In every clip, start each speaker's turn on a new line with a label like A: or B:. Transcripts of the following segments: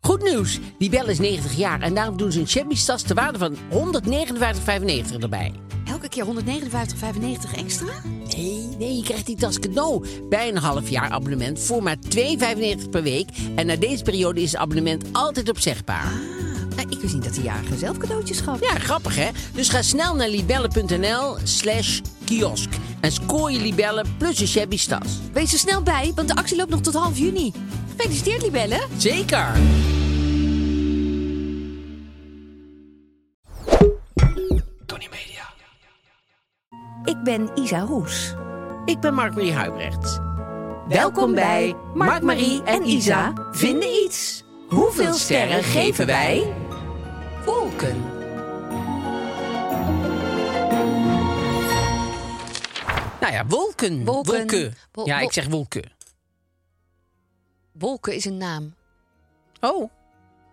A: Goed nieuws, die bel is 90 jaar en daarom doen ze een Chevy's tas te waarde van 159,95 erbij.
B: Elke keer 159,95 extra?
A: Nee, nee, je krijgt die tas cadeau bij een half jaar abonnement voor maar 2,95 per week. En na deze periode is het abonnement altijd opzegbaar.
B: Nou, ik wist niet dat de jarige zelf cadeautjes gaf.
A: Ja, grappig hè? Dus ga snel naar libellen.nl slash kiosk en scoor je libellen plus een Chevy's tas.
B: Wees er snel bij, want de actie loopt nog tot half juni. Gefeliciteerd, Libelle.
A: Zeker!
B: Ik ben Isa Roes.
A: Ik ben Mark-Marie Huibrecht.
B: Welkom bij Mark, Marie en Isa vinden iets. Hoeveel sterren geven wij?
A: Wolken. Nou ja, wolken.
B: Wolken. Wol-
A: ja,
B: wol-
A: ik zeg wolken.
B: Wolken is een naam.
A: Oh,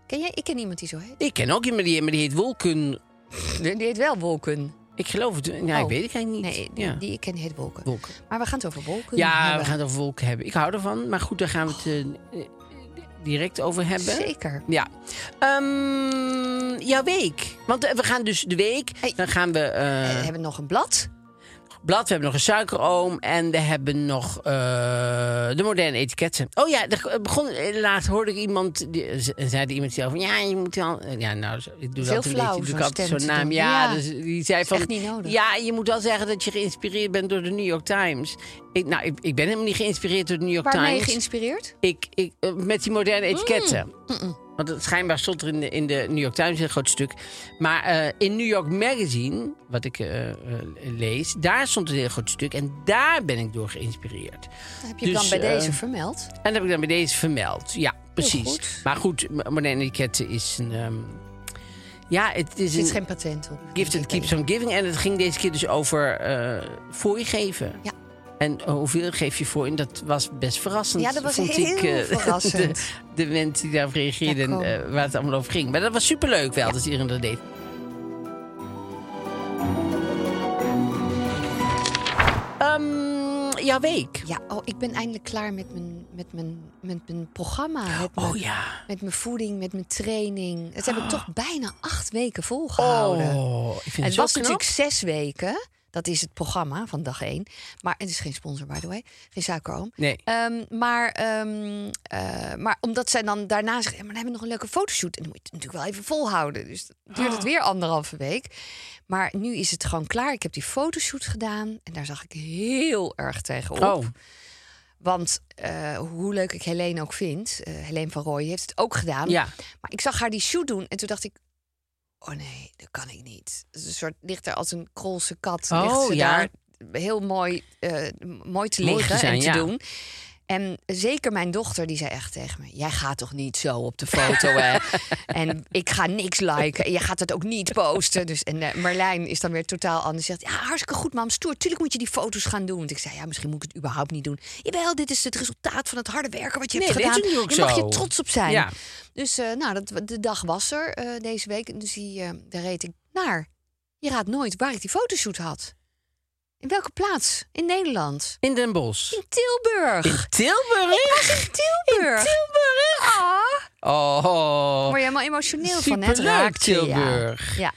B: Ken jij? Ik ken iemand die zo heet.
A: ik ken ook iemand die, maar die heet wolken.
B: Die die heet wel Wolken.
A: Ik geloof het. Ja, ik
B: Oh.
A: weet het eigenlijk niet.
B: Nee, die,
A: ja.
B: die ik ken heet Wolken.
A: Wolken.
B: Maar we gaan het over Wolken
A: Ja, we
B: hebben.
A: gaan het over wolken hebben. Ik hou ervan, maar goed, daar gaan we het eh, eh, direct over hebben.
B: Zeker.
A: Ja. Ehm ja, week. Want eh, we gaan dus de week,
B: Hey.
A: dan gaan we... eh,
B: We hebben nog een blad.
A: blad, we hebben nog een suikeroom en we hebben nog eh, de moderne etiketten. Oh ja, er begon, eh, laatst hoorde ik iemand, die, ze- zei er iemand die zei van ja, je moet wel... eh, Ja, nou, zo- ik doe
B: Heel
A: dat een
B: flauw,
A: beetje, doe ik
B: zo'n
A: altijd
B: stem
A: zo'n
B: te
A: naam.
B: doen.
A: Ja,
B: Ja,
A: dus die zei
B: is
A: van...
B: echt niet nodig.
A: Ja, je moet wel zeggen dat je geïnspireerd bent door de New York Times. Ik, nou, ik, ik ben helemaal niet geïnspireerd door de New York
B: Waarmee Mm. je
A: Times.
B: geïnspireerd?
A: Ik, ik, eh, met die moderne etiketten. Want het schijnbaar stond er in de, in de New York Times een groot stuk. Maar eh, in New York Magazine, wat ik eh, eh, lees, daar stond een heel groot stuk. En daar ben ik door geïnspireerd.
B: Dat heb je
A: Dus,
B: dan bij
A: eh,
B: deze vermeld.
A: En dat heb ik dan bij deze vermeld. Ja, precies.
B: goed.
A: Maar goed, m- moderne etiketten is een... ehm, ja, het is
B: Er zit
A: een
B: geen patent op.
A: gifted
B: Ik
A: keeps
B: weet
A: on giving. En het ging deze keer dus over eh voor je geven.
B: Ja.
A: En eh, hoeveel geef je voor? En dat was best verrassend.
B: Ja, dat was
A: vond
B: heel
A: ik, eh,
B: verrassend.
A: De, de mensen die daarop reageerden en
B: Ja, kom.
A: eh, waar het allemaal over ging. Maar dat was superleuk wel, dat iedereen dat deed. Ehm, jouw week.
B: Ja, oh, ik ben eindelijk klaar met mijn, met mijn, met mijn programma. Met mijn,
A: Oh ja.
B: met mijn voeding, met mijn training. Het heb ik toch bijna acht weken volgehouden.
A: Ah. Oh, ik vind het,
B: het
A: zo
B: was
A: knap.
B: natuurlijk zes weken. Dat is het programma van dag één. Maar het is geen sponsor, by the way. Geen suikeroom.
A: Nee.
B: Ehm, maar, ehm, eh, maar omdat zij dan daarna zegt... "Ja, maar dan hebben we nog een leuke fotoshoot. En dan moet je het natuurlijk wel even volhouden. Dus dan duurt
A: Ah.
B: het weer anderhalve week. Maar nu is het gewoon klaar. Ik heb die fotoshoot gedaan. En daar zag ik heel erg tegenop.
A: Oh,
B: Want eh, hoe leuk ik Helene ook vind, eh Helene van Rooij heeft het ook gedaan.
A: Ja.
B: Maar ik zag haar die shoot doen en toen dacht ik, oh nee, dat kan ik niet. Het is een soort ligt er als een krolse kat.
A: Oh,
B: ligt ze
A: ja.
B: daar heel mooi, eh, mooi te
A: Mooi
B: liggen
A: zijn,
B: en te
A: ja.
B: doen. En zeker mijn dochter, die zei echt tegen me... jij gaat toch niet zo op de foto, hè? En ik ga niks liken. En je gaat het ook niet posten. Dus, en eh, Marlijn is dan weer totaal anders. Zegt, ja, hartstikke goed, mam, stoer. Tuurlijk moet je die foto's gaan doen. Want ik zei, ja, misschien moet ik het überhaupt niet doen. Jawel, dit is het resultaat van het harde werken wat je
A: Nee,
B: hebt
A: dat is
B: gedaan.
A: natuurlijk
B: Je mag
A: zo.
B: je trots op zijn.
A: Ja.
B: Dus eh, nou, dat, de dag was er eh, deze week. En dus die, eh, daar reed ik naar. Je raadt nooit waar ik die fotoshoot had. In welke plaats? In Nederland.
A: in Den Bosch.
B: In Tilburg.
A: In Tilburg?
B: Ik was in Tilburg.
A: In Tilburg?
B: Ah,
A: Oh.
B: word je helemaal emotioneel van, hè? Het
A: Superleuk,
B: raakt je, ja.
A: Tilburg.
B: Ja.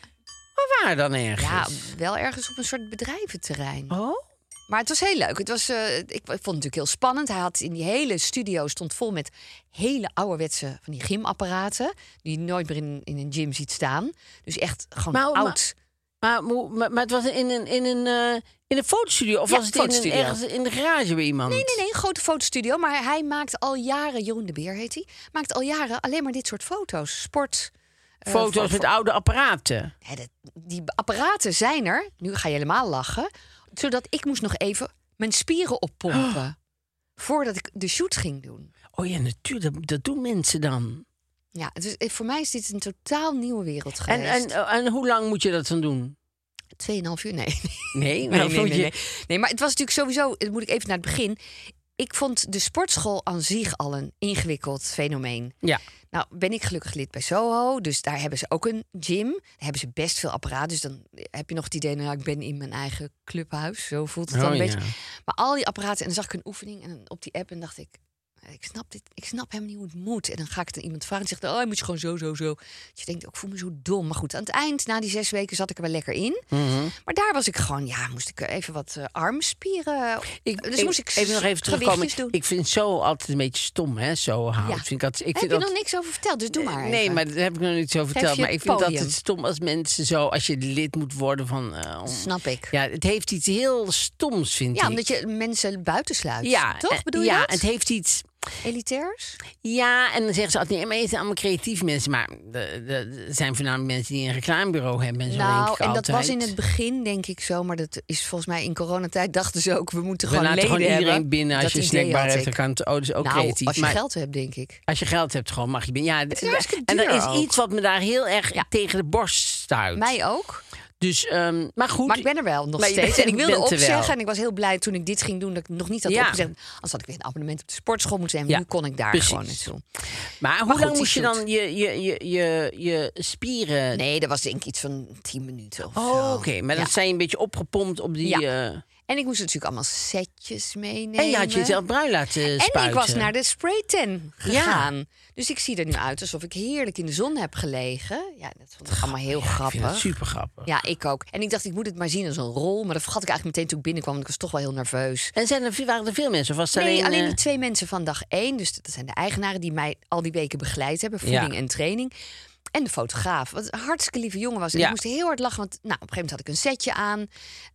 A: Waar dan
B: Ja.
A: ergens?
B: wel ergens op een soort bedrijventerrein.
A: Oh?
B: Maar het was heel leuk. Het was, eh, ik, ik vond het natuurlijk heel spannend. Hij had in die hele studio stond vol met hele ouderwetse van die gymapparaten. Die je nooit meer in, in een gym ziet staan. Dus echt gewoon
A: Maar- maar-
B: oud.
A: Maar, mo- maar, maar het was in een, in een, eh, in een fotostudio? Of
B: Ja,
A: was het in, een,
B: fotostudio.
A: ergens in de garage bij iemand?
B: Nee, nee, nee, een grote fotostudio. Maar hij maakt al jaren, Jeroen de Beer heet hij, maakt al jaren alleen maar dit soort foto's. Sport. eh,
A: Foto's
B: fo-
A: met oude apparaten.
B: Ja, dat- die apparaten zijn er. Nu ga je helemaal lachen. Zodat ik moest nog even mijn spieren oppompen. Voordat ik de shoot ging doen.
A: Oh ja, natuurlijk. Dat, dat doen mensen dan.
B: Ja, dus eh, voor mij is dit een totaal nieuwe wereld
A: En,
B: geweest.
A: en, en hoe lang moet je dat dan doen?
B: Tweeënhalf uur, nee.
A: Nee, dan
B: Nee, nee,
A: moet
B: nee,
A: Nou, je-
B: nee. Nee, maar het was natuurlijk sowieso, dat moet ik even naar het begin. Ik vond de sportschool aan zich al een ingewikkeld fenomeen.
A: Ja.
B: Nou, ben ik gelukkig lid bij Soho, dus daar hebben ze ook een gym. Daar hebben ze best veel apparaat, dus dan heb je nog het idee... nou, ik ben in mijn eigen clubhuis, zo voelt het dan
A: Oh,
B: een beetje.
A: ja.
B: Maar al die apparaten, en dan zag ik een oefening en op die app... en dacht ik, eh, ik snap dit, ik snap helemaal niet hoe het moet. En dan ga ik het aan iemand vragen en zegt... oh, je moet je gewoon zo, zo, zo. Dus je denkt, oh, ik voel me zo dom. Maar goed, aan het eind, na die zes weken, zat ik er wel lekker in.
A: Mhm.
B: Maar daar was ik gewoon, ja, moest ik even wat eh, armspieren.
A: Ik,
B: dus moest ik
A: even nog even terugkomen.
B: gewichtjes doen.
A: Ik vind zo altijd een beetje stom, hè? Zo houden.
B: Ja.
A: Vind ik altijd, ik
B: heb
A: vind
B: je
A: dat,
B: nog niks over verteld, dus doe maar.
A: Nee,
B: even.
A: maar daar heb ik nog niet zo verteld.
B: je
A: Maar ik vind dat
B: podium.
A: het stom als mensen zo, als je lid moet worden van. eh, om-
B: Snap ik. Ja,
A: ja, het heeft iets heel stoms, vind ik.
B: omdat je mensen buitensluit.
A: ja, eh,
B: Toch bedoel je
A: ja,
B: dat?
A: het heeft iets.
B: Elitairs?
A: Ja, en dan zeggen ze altijd, nee, maar het zijn allemaal creatieve mensen. Maar de- de- er zijn voornamelijk mensen die een reclamebureau hebben en zo. denk
B: nou,
A: ik
B: en dat was in
A: altijd.
B: het begin denk ik zo. Maar dat is volgens mij in coronatijd dachten ze ook... we moeten
A: We
B: gewoon
A: laten
B: leden
A: gewoon iedereen
B: hebben.
A: binnen als
B: Dat
A: je
B: idee
A: snackbar
B: had
A: hebt. Dan
B: ik.
A: kan het oh, dus ook
B: nou,
A: creatief.
B: als je
A: maar
B: geld hebt, denk ik.
A: als je geld hebt, gewoon mag je binnen. Ja, het
B: is hartstikke
A: en er
B: duur
A: is
B: ook.
A: iets wat me daar heel erg
B: Ja.
A: tegen de borst stuit.
B: Mij ook.
A: Dus, ehm, maar goed.
B: Maar ik ben er wel nog
A: Maar je
B: steeds.
A: bent-
B: En ik wilde
A: bent er wel.
B: opzeggen. En ik was heel blij toen ik dit ging doen... dat ik nog niet had
A: Ja.
B: opgezegd. Anders had ik weer een abonnement op de sportschool moeten hebben.
A: Ja,
B: Nu kon ik daar
A: precies.
B: gewoon naartoe.
A: Maar hoe
B: Maar goed,
A: lang
B: die
A: moest je
B: shoot.
A: dan je, je, je, je, je spieren...
B: Nee, dat was denk ik iets van 10 minuten of zo.
A: Oh, oké. Maar dan
B: Ja.
A: zijn je een beetje opgepompt op die...
B: Ja.
A: eh,
B: En ik moest natuurlijk allemaal setjes meenemen.
A: en je had jezelf bruin laten spuiten.
B: En ik was naar de spraytan
A: Ja.
B: gegaan. Dus ik zie er nu uit alsof ik heerlijk in de zon heb gelegen. Ja, dat vond ik allemaal heel
A: Ik vind het
B: grappig.
A: super grappig.
B: ja, ik ook. En ik dacht, ik moet het maar zien als een rol. Maar dat vergat ik eigenlijk meteen toen ik binnenkwam. Want ik was toch wel heel nerveus.
A: En zijn er, waren er veel mensen? Of was het
B: Nee, alleen,
A: alleen... eh,
B: die twee mensen van dag één. Dus dat zijn de eigenaren die mij al die weken begeleid hebben.
A: Ja.
B: Voeding en training. En de fotograaf. Wat een hartstikke lieve jongen was. En
A: Ja.
B: ik moest heel hard lachen. Want nou, op een gegeven moment had ik een setje aan.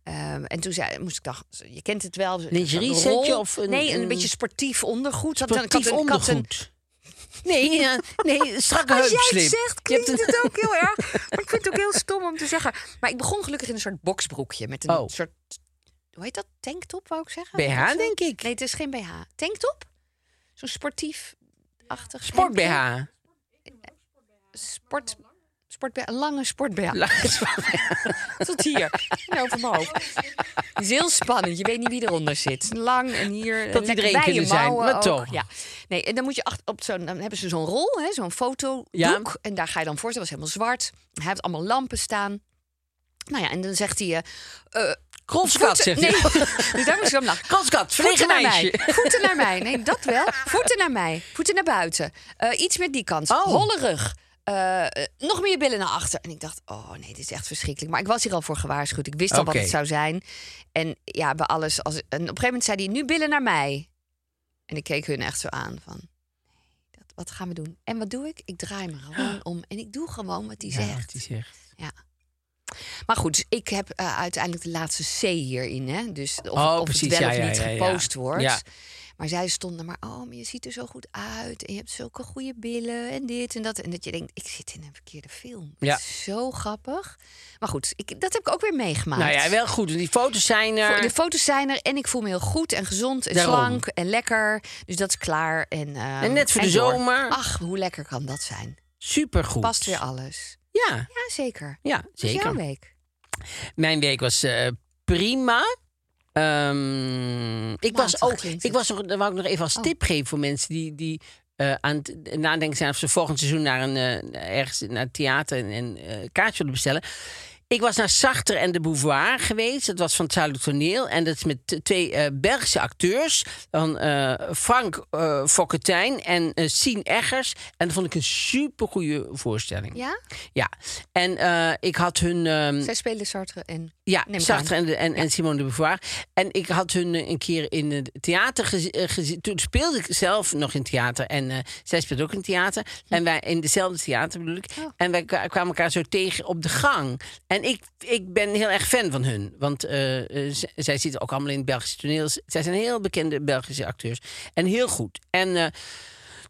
B: Ehm, en toen zei, moest ik dacht, je kent het wel. een
A: Lingerie
B: rol.
A: setje of een-
B: nee, een,
A: een-
B: beetje sportief ondergoed. Had- ik had
A: sportief
B: een- ik had een-
A: ondergoed? Nee, ja, nee, strakke
B: als jij
A: heupslip.
B: het zegt,
A: Je hebt
B: klinkt
A: een-
B: het ook heel erg. Maar ik vind het ook heel stom om te zeggen. Maar ik begon gelukkig in een soort boksbroekje. Met een
A: Oh.
B: soort, hoe heet dat? Tanktop, wou ik zeggen?
A: BH, denk ik.
B: Nee, het is geen BH. Tanktop? Zo'n sportief-achtig...
A: Sport BH.
B: Sport... Sport een lange sport BH. Tot hier. En over mijn hoofd. Het is heel spannend. Je weet niet wie eronder zit. Lang en hier. eh, lekker
A: iedereen
B: bij
A: kunnen
B: je
A: zijn,
B: mouwen
A: maar
B: ook.
A: toch.
B: Ja. Nee, en dan moet je achter op zo'n. Dan hebben ze zo'n rol, hè, zo'n fotodoek.
A: Ja.
B: En daar ga je dan voor. Dat was helemaal zwart. Hij heeft allemaal lampen staan. Nou ja, en dan zegt hij. eh, eh,
A: Kronskat,
B: voeten-
A: zegt
B: nee.
A: hij.
B: Dus daar moest ik om lachen.
A: Kronskat, verlegen
B: Voeten naar
A: meisje.
B: mij. Voeten naar mij. Nee, dat wel. Voeten naar mij. Voeten naar buiten. Eh, iets met die kant.
A: Oh.
B: Holle rug. Eh, eh, nog meer billen naar achter. En ik dacht, oh nee, dit is echt verschrikkelijk. Maar ik was hier al voor gewaarschuwd. Ik wist al
A: Oké.
B: wat het zou zijn. En ja, bij alles. Als, en op een gegeven moment zei hij, nu billen naar mij. En ik keek hun echt zo aan van... nee, dat- Wat gaan we doen? En wat doe ik? Ik draai me gewoon om en ik doe gewoon wat hij
A: Ja,
B: zegt.
A: wat hij zegt.
B: Maar goed, ik heb eh, uiteindelijk de laatste C hierin. Hè? Dus of,
A: Oh,
B: of
A: precies,
B: het wel
A: ja,
B: of
A: ja,
B: niet
A: ja, ja.
B: gepost wordt.
A: Ja.
B: Maar zij stonden maar, oh, maar je ziet er zo goed uit. En je hebt zulke goede billen en dit en dat. En dat je denkt, ik zit in een verkeerde film.
A: Ja.
B: Het is zo grappig. Maar goed, ik, dat heb ik ook weer meegemaakt.
A: Nou ja, wel goed. want Die foto's zijn er.
B: Vo- De foto's zijn er en ik voel me heel goed en gezond en
A: Daarom.
B: slank en lekker. Dus dat is klaar. En, ehm,
A: En net voor de
B: door.
A: zomer.
B: Ach, hoe lekker kan dat zijn?
A: Supergoed.
B: Past weer alles.
A: Ja,
B: Ja, zeker.
A: ja
B: Dat is
A: zeker.
B: jouw week.
A: Mijn week was eh, prima. Ehm, ik, was
B: Maandag
A: ook,
B: klinkt
A: ik
B: het.
A: was nog, dat wou ik nog even als tip geven voor mensen die, die eh, aan het nadenken zijn of ze volgend seizoen naar een, eh, ergens naar het theater en, en eh, kaartje willen bestellen. Ik was naar Sartre en de Beauvoir geweest. Dat was van het Zuidelijk Toneel. En dat is met t- twee eh, Belgische acteurs. Van, eh, Frank eh Fokketijn en eh, Sien Eggers. En dat vond ik een supergoeie voorstelling.
B: Ja?
A: Ja. En eh, ik had hun... ehm,
B: Zij spelen Sartre en...
A: ja,
B: Neem ik
A: Sartre
B: aan.
A: en, de- en, en Simone de Beauvoir. En ik had hun eh, een keer in het theater gezi- eh, gezien. Toen speelde ik zelf nog in theater. En eh, zij speelde ook in theater. En wij in dezelfde theater bedoel ik.
B: Oh.
A: En wij kwa- kwamen elkaar zo tegen op de gang. En ik, ik ben heel erg fan van hun. Want eh, eh, z- zij zitten ook allemaal in het Belgische toneel. Z- Zij zijn heel bekende Belgische acteurs. En heel goed. En... eh,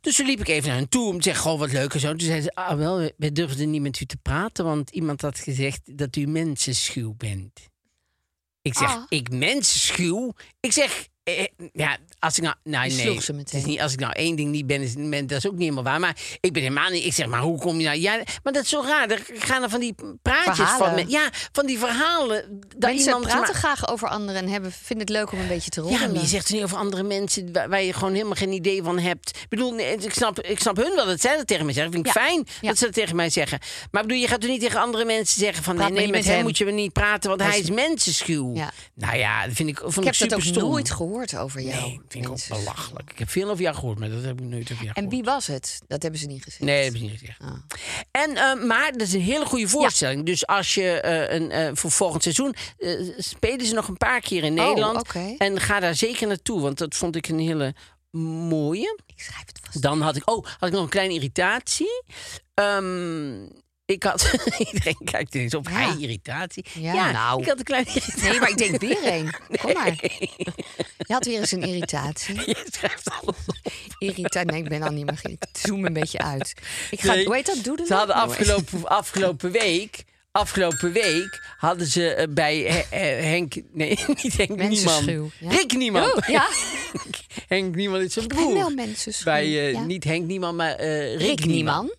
A: dus toen liep ik even naar hen toe om te zeggen, goh, wat leuk en zo. Toen zei ze, ah wel, we- we durfden niet met u te praten, want iemand had gezegd dat u mensenschuw bent. Ik zeg,
B: Ah.
A: ik mensenschuw? Ik zeg, eh, eh, ja, als ik nou... nou
B: Je
A: nee,
B: sloeg ze
A: het
B: meteen.
A: is niet, als ik nou één ding niet ben, is, ben- dat is ook niet helemaal waar. Maar ik ben helemaal niet... Ik zeg, maar hoe kom je nou... Ja, maar dat is zo raar. Er gaan er van die praatjes van...
B: Verhalen.
A: me- Ja, van die verhalen. Dat
B: Mensen
A: iemand
B: praten
A: maar-
B: graag over anderen en hebben, vinden het leuk om een beetje te roddelen.
A: Ja, maar je zegt het niet over andere mensen waar, waar je gewoon helemaal geen idee van hebt. Ik bedoel, nee, ik snap, ik snap hun wel dat zij dat tegen mij zeggen. Vind ik
B: Ja.
A: fijn
B: Ja.
A: dat ze dat tegen mij zeggen. Maar ik bedoel, je gaat toch niet tegen andere mensen zeggen van...
B: Praat
A: nee, nee,
B: maar niet
A: met
B: met
A: hem
B: hem.
A: moet je me niet praten, want hij is mensenschuw.
B: Ja.
A: Nou ja, dat vind ik, vond
B: ik heb dat
A: super
B: ook
A: stom.
B: nooit gehoord over jou.
A: Nee, vind ik ook
B: mensen.
A: belachelijk. Ik heb veel over jou gehoord, maar dat heb ik nooit over jou
B: En
A: gehoord.
B: wie was het? Dat hebben ze niet gezien.
A: Nee, dat heb ik niet gezegd.
B: Ah.
A: En, eh, maar dat is een hele goede voorstelling. Dus als je eh, een, eh, voor volgend seizoen eh, spelen ze nog een paar keer in
B: Oh,
A: Nederland.
B: oké.
A: En ga daar zeker naartoe, want dat vond ik een hele mooie.
B: Ik schrijf het vast.
A: Dan had ik, oh, had ik nog een kleine irritatie. Ehm, ik had, iedereen kijkt ineens op,
B: Ja.
A: hij irritatie.
B: Ja, nou.
A: Ik had een kleine irritatie.
B: Nee, maar ik denk weer een. Kom maar. Je had weer eens een irritatie.
A: Je schrijft alles op.
B: Irritatie. Nee, ik ben al niet meer. ge- Ik zoom een beetje uit. Ik ga,
A: Nee.
B: Hoe heet dat? Doedelen?
A: Ze hadden
B: Nou,
A: afgelopen, afgelopen week. Afgelopen week hadden ze eh, bij eh, eh, Henk. Nee, niet Henk Niemand.
B: Mensenschuw, ja.
A: Rick Niemand.
B: Oh, ja.
A: Henk Niemand is zijn
B: ben
A: broer.
B: wel mensenschuw,
A: Bij eh,
B: ja.
A: niet Henk Niemand, maar eh, Rick,
B: Rick
A: Niemand.
B: Nieman.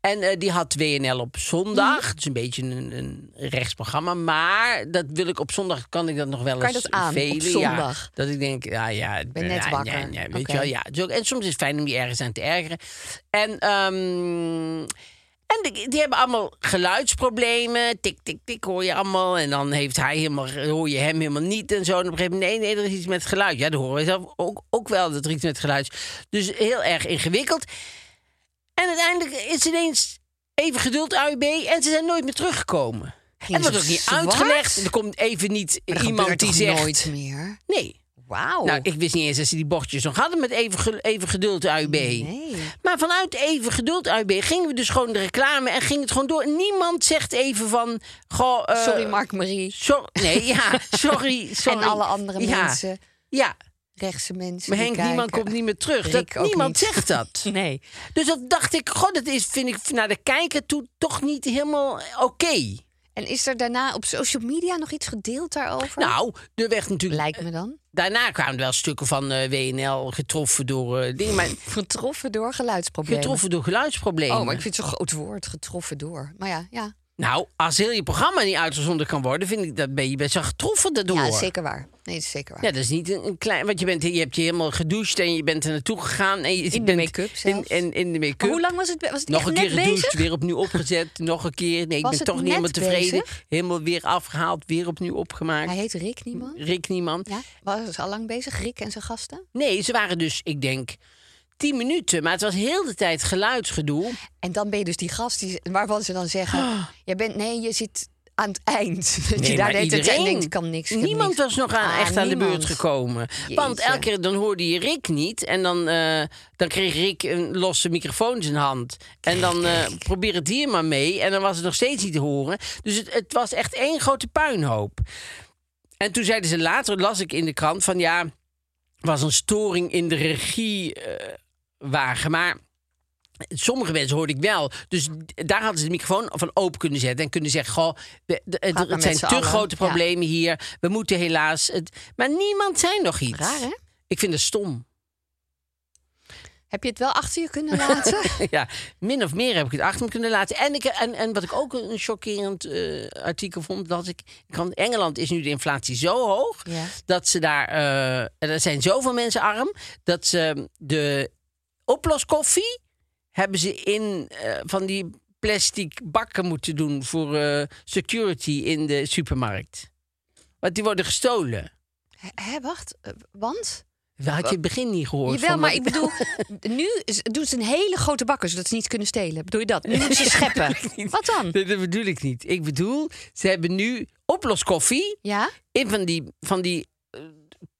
A: En eh, die had WNL op
B: Mhm.
A: zondag. Het is een beetje een, een rechtsprogramma. Maar dat wil ik op zondag kan ik dat nog wel
B: Kan je
A: eens
B: dat aan, op
A: velen. Ja,
B: zondag?
A: dat ik denk, ja, ja, ik
B: ben net wakker.
A: Ja, ja, weet
B: Oké.
A: je wel, ja. Het is ook- en soms is het fijn om je ergens aan te ergeren. En, ehm, en die, die hebben allemaal geluidsproblemen. Tik, tik, tik hoor je allemaal. En dan heeft hij helemaal, hoor je hem helemaal niet en zo. En op een gegeven moment, nee, nee, er is iets met geluid. Ja, dat horen we zelf ook, ook wel, dat er iets met geluid is. Dus heel erg ingewikkeld. En uiteindelijk is ineens even geduld AUB en ze zijn nooit meer teruggekomen.
B: Gingen
A: en dat
B: ze
A: wordt ook niet
B: zwart?
A: uitgelegd. Er komt even niet
B: Maar dat
A: iemand
B: gebeurt
A: die
B: toch
A: zegt...
B: nooit meer.
A: Nee.
B: Wauw.
A: Nou, ik wist niet eens dat ze die bochtjes nog hadden met even, ge- even geduld AUB.
B: Nee.
A: Maar vanuit even geduld AUB gingen we dus gewoon de reclame en ging het gewoon door. Niemand zegt even van... Goh, eh,
B: Sorry, Mark Marie.
A: sor- nee, ja, sorry, sorry.
B: En alle andere
A: Ja,
B: mensen.
A: Ja,
B: Rechtse mensen.
A: maar
B: die
A: Henk, niemand
B: kijken.
A: komt niet meer terug.
B: Rick
A: Dat,
B: ook
A: niemand
B: niet.
A: zegt dat.
B: Nee.
A: Dus dat dacht ik, god, dat is, vind ik, naar de kijker toe toch niet helemaal oké.
B: En is er daarna op social media nog iets gedeeld daarover?
A: Nou, er werd natuurlijk.
B: Lijkt me dan.
A: Daarna kwamen er wel stukken van eh, WNL getroffen door eh, dingen, maar
B: Getroffen door geluidsproblemen.
A: getroffen door geluidsproblemen.
B: Oh, maar ik vind het zo'n groot woord, getroffen door. Maar ja, ja.
A: Nou, als heel je programma niet uitgezonden kan worden, vind ik dat ben je best wel getroffen daardoor.
B: ja zeker waar. Nee, dat is zeker waar.
A: Ja, dat is niet een, een klein. Want je, bent, je hebt je helemaal gedoucht en je bent er naartoe gegaan. En je, je
B: de
A: bent
B: make-up
A: In,
B: zelfs.
A: in, in de make-up.
B: Maar hoe lang was het? be- Was het
A: Nog
B: echt
A: een keer
B: net
A: gedoucht,
B: bezig?
A: weer opnieuw opgezet. Nog een keer. Nee, ik
B: Was
A: ben
B: het
A: toch niet helemaal
B: net
A: tevreden.
B: bezig?
A: Helemaal weer afgehaald, weer opnieuw opgemaakt.
B: Hij heet Rick niemand.
A: Rick niemand.
B: Ja, was al lang bezig, Rick en zijn gasten.
A: Nee, ze waren dus, ik denk, tien minuten. Maar het was heel de tijd geluidsgedoe.
B: En dan ben je dus die gast die, waarvan ze dan zeggen: Jij bent, nee, je zit aan het eind. Dat je daar de hele tijd en denkt: kan niks. ik heb
A: Niemand
B: niks.
A: was nog aan,
B: Ah,
A: echt aan de beurt
B: niemand.
A: gekomen. Want
B: Jeetje.
A: elke keer dan hoorde je Rick niet. En dan, eh, dan kreeg Rick een losse microfoon in zijn hand. En dan eh probeer het hier maar mee. En dan was het nog steeds niet te horen. Dus het, het was echt één grote puinhoop. En toen zeiden ze later, las ik in de krant, van ja, was een storing in de regie eh, wagen. Maar sommige mensen hoorde ik wel. Dus d- daar hadden ze de microfoon van open kunnen zetten. En kunnen zeggen, goh, de- de- het,
B: maar
A: het
B: met
A: zijn te
B: z'n allen.
A: grote
B: Ja.
A: problemen hier. We moeten helaas... Het... Maar niemand zei nog iets.
B: Raar, hè?
A: Ik vind het stom.
B: Heb je het wel achter je kunnen laten?
A: ja, min of meer heb ik het achter me kunnen laten. En, ik, en, en wat ik ook een chockerend eh, artikel vond, dat ik... Kan, Engeland is nu de inflatie zo hoog...
B: Ja.
A: dat ze daar... eh, er zijn zoveel mensen arm... dat ze de oploskoffie hebben ze in eh, van die plastic bakken moeten doen... voor eh, security in de supermarkt. Want die worden gestolen.
B: Hé, wacht, eh, want?
A: Dat had je het begin niet gehoord.
B: Jawel,
A: van
B: maar
A: wat-
B: ik bedoel, nu is- doen ze een hele grote bakken zodat ze niet kunnen stelen. Bedoel je dat? Nu moeten ze scheppen. Wat dan?
A: Nee, dat bedoel ik niet. Ik bedoel, ze hebben nu oploskoffie
B: Ja,
A: in van die, van die eh,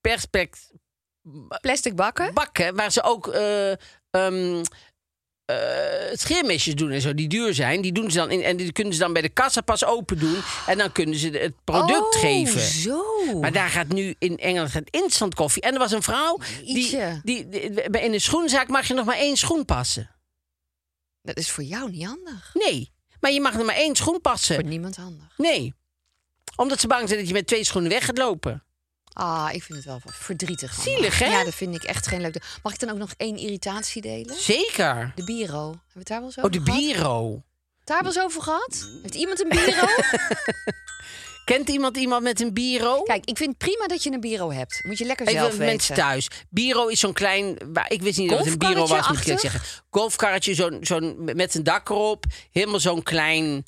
A: perspex
B: plastic bakken.
A: bakken waar ze ook eh ehm, eh, scheermesjes doen en zo, die duur zijn. Die doen ze dan in, en die kunnen ze dan bij de kassa pas open doen. En dan kunnen ze de- het product
B: oh,
A: geven.
B: Zo.
A: Maar daar gaat nu in Engeland gaat instant koffie. En er was een vrouw die,
B: Ietsje.
A: die, die- bij- in een schoenzaak mag je nog maar één schoen passen.
B: Dat is voor jou niet handig.
A: Nee, maar je mag er maar één schoen passen.
B: Voor niemand handig.
A: Nee. Omdat ze bang zijn dat je met twee schoenen weg gaat lopen.
B: Ah, ik vind het wel verdrietig. allemaal.
A: Zielig, hè?
B: Ja, dat vind ik echt geen leuk. Mag ik dan ook nog één irritatie delen?
A: Zeker.
B: De bureau. Hebben we het daar wel eens
A: Oh, de
B: over gehad?
A: bureau.
B: Daar wel eens over gehad? Heeft iemand een bureau?
A: Kent iemand iemand met een bureau?
B: Kijk, ik vind het prima dat je een bureau hebt. Moet je lekker
A: Even
B: zelf
A: voor de
B: weten.
A: mensen thuis. Biro is zo'n klein. waar- Ik wist niet dat het een biro was, moet ik eerlijk
B: Golfkarretje-achtig?
A: zeggen. Golfkarretje, zo'n, zo'n, met een dak erop. Helemaal zo'n klein.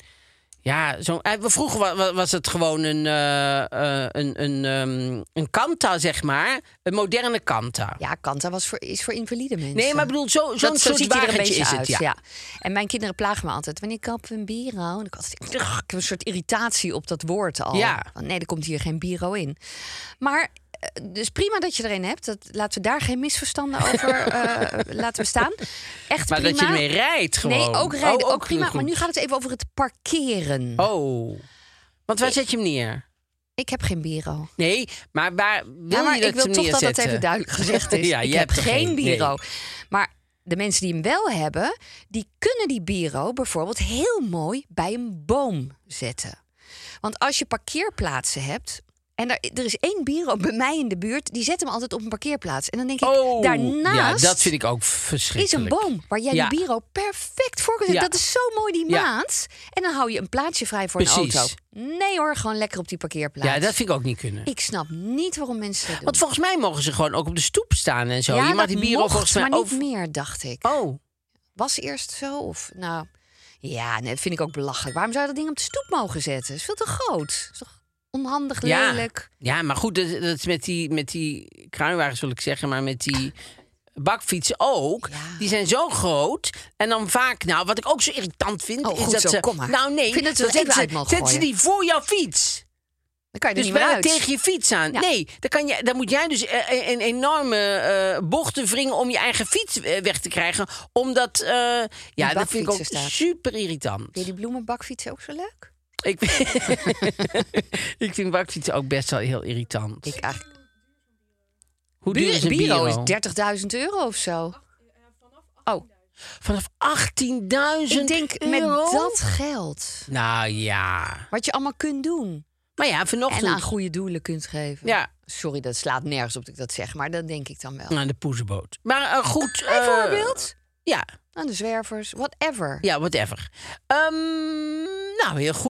A: Ja, zo'n. eh, vroeger wa- wa- was het gewoon een, eh, eh, een, een, ehm, een kanta, zeg maar. Een moderne kanta.
B: Ja, Kanta was voor, is voor invalide mensen.
A: nee, maar ik bedoel, zo, zo'n
B: Dat, zo
A: soort
B: ziet hij er een
A: wagentje
B: beetje
A: is het.
B: uit.
A: ja.
B: ja. En mijn kinderen plagen me altijd. Wanneer kopen we een bureau? En ik, altijd, "Ugh," ik heb een soort irritatie op dat woord al.
A: Ja.
B: Van, nee, er komt hier geen bureau in. Maar eh, dus prima dat je er een hebt. Dat, laten we daar geen misverstanden over eh, laten bestaan. Echt
A: Maar
B: prima.
A: dat je ermee rijdt gewoon.
B: Nee, ook rijden,
A: Oh,
B: ook, prima.
A: goed.
B: Maar nu gaat het even over het parkeren.
A: Oh. Want waar zet je hem neer?
B: Ik heb geen bureau.
A: Nee, maar waar wil
B: ja, maar
A: je dat
B: ik wil
A: hem
B: toch dat dat
A: neerzetten?
B: even duidelijk gezegd is.
A: Ja,
B: ik
A: je
B: heb
A: hebt er
B: geen
A: geen, nee.
B: bureau. Maar de mensen die hem wel hebben, die kunnen die bureau bijvoorbeeld heel mooi bij een boom zetten. Want als je parkeerplaatsen hebt. En er, er is één bureau bij mij in de buurt, die zet hem altijd op een parkeerplaats. En dan denk ik,
A: Oh,
B: daarnaast
A: ja, dat vind ik ook
B: is een
A: verschrikkelijk.
B: boom waar jij
A: Ja.
B: de bureau perfect voor kunt zetten.
A: Ja.
B: Dat is zo mooi die
A: Ja.
B: maat. En dan hou je een plaatsje vrij voor
A: Precies.
B: een auto. Nee hoor, gewoon lekker op die parkeerplaats.
A: Ja, dat vind Oh, ik ook niet kunnen.
B: Ik snap niet waarom mensen dat doen.
A: Want volgens mij mogen ze gewoon ook op de stoep staan en zo.
B: ja,
A: je mag
B: dat
A: die bureau
B: mocht,
A: volgens mij
B: maar niet
A: over-
B: meer, dacht ik.
A: Oh,
B: Was eerst zo of nou? Ja, nee, dat vind ik ook belachelijk. Waarom zou je dat ding op de stoep mogen zetten? Is veel te groot. Is toch onhandig,
A: ja.
B: lelijk.
A: Ja, maar goed, dat, dat is met die, met die kruiwagens wil ik zeggen, maar met die bakfietsen ook.
B: Ja.
A: Die zijn zo groot. En dan vaak, nou, wat ik ook zo irritant vind,
B: Oh,
A: is
B: goed
A: dat
B: zo,
A: ze...
B: kom maar.
A: Nou, nee,
B: Ik vind dat we
A: dan
B: het even
A: zetten
B: uit
A: ze,
B: mogen
A: zetten ze
B: gooien.
A: die voor jouw fiets.
B: Dan kan je er
A: Dus
B: niet meer
A: bijna
B: uit.
A: tegen je fiets aan.
B: Ja.
A: Nee, dan, kan je, dan moet jij dus eh, een, een enorme eh, bocht te wringen om je eigen fiets eh, weg te krijgen. Omdat, eh, ja, dat vind ik ook
B: bakfietsen staat.
A: super irritant.
B: Vind je die bloemenbakfiets ook zo leuk?
A: Ik, ik vind bakfietsen ook best wel heel irritant.
B: Ik eigenlijk.
A: Hoe duur is
B: Bureau,
A: een bureau?
B: is 30.000 euro of zo. Oh,
A: Vanaf 18.000
B: ik denk met
A: euro?
B: dat geld.
A: Nou ja.
B: Wat je allemaal kunt doen.
A: Maar ja,
B: En aan
A: vanochtend...
B: goede doelen kunt geven.
A: Ja,
B: Sorry, dat slaat nergens op dat ik dat zeg. Maar dat denk ik dan wel.
A: aan de poezenboot. Maar eh, goed... eh,
B: Bijvoorbeeld
A: ja,
B: aan de zwervers, whatever.
A: ja, whatever. Ehm, nou, heel goed.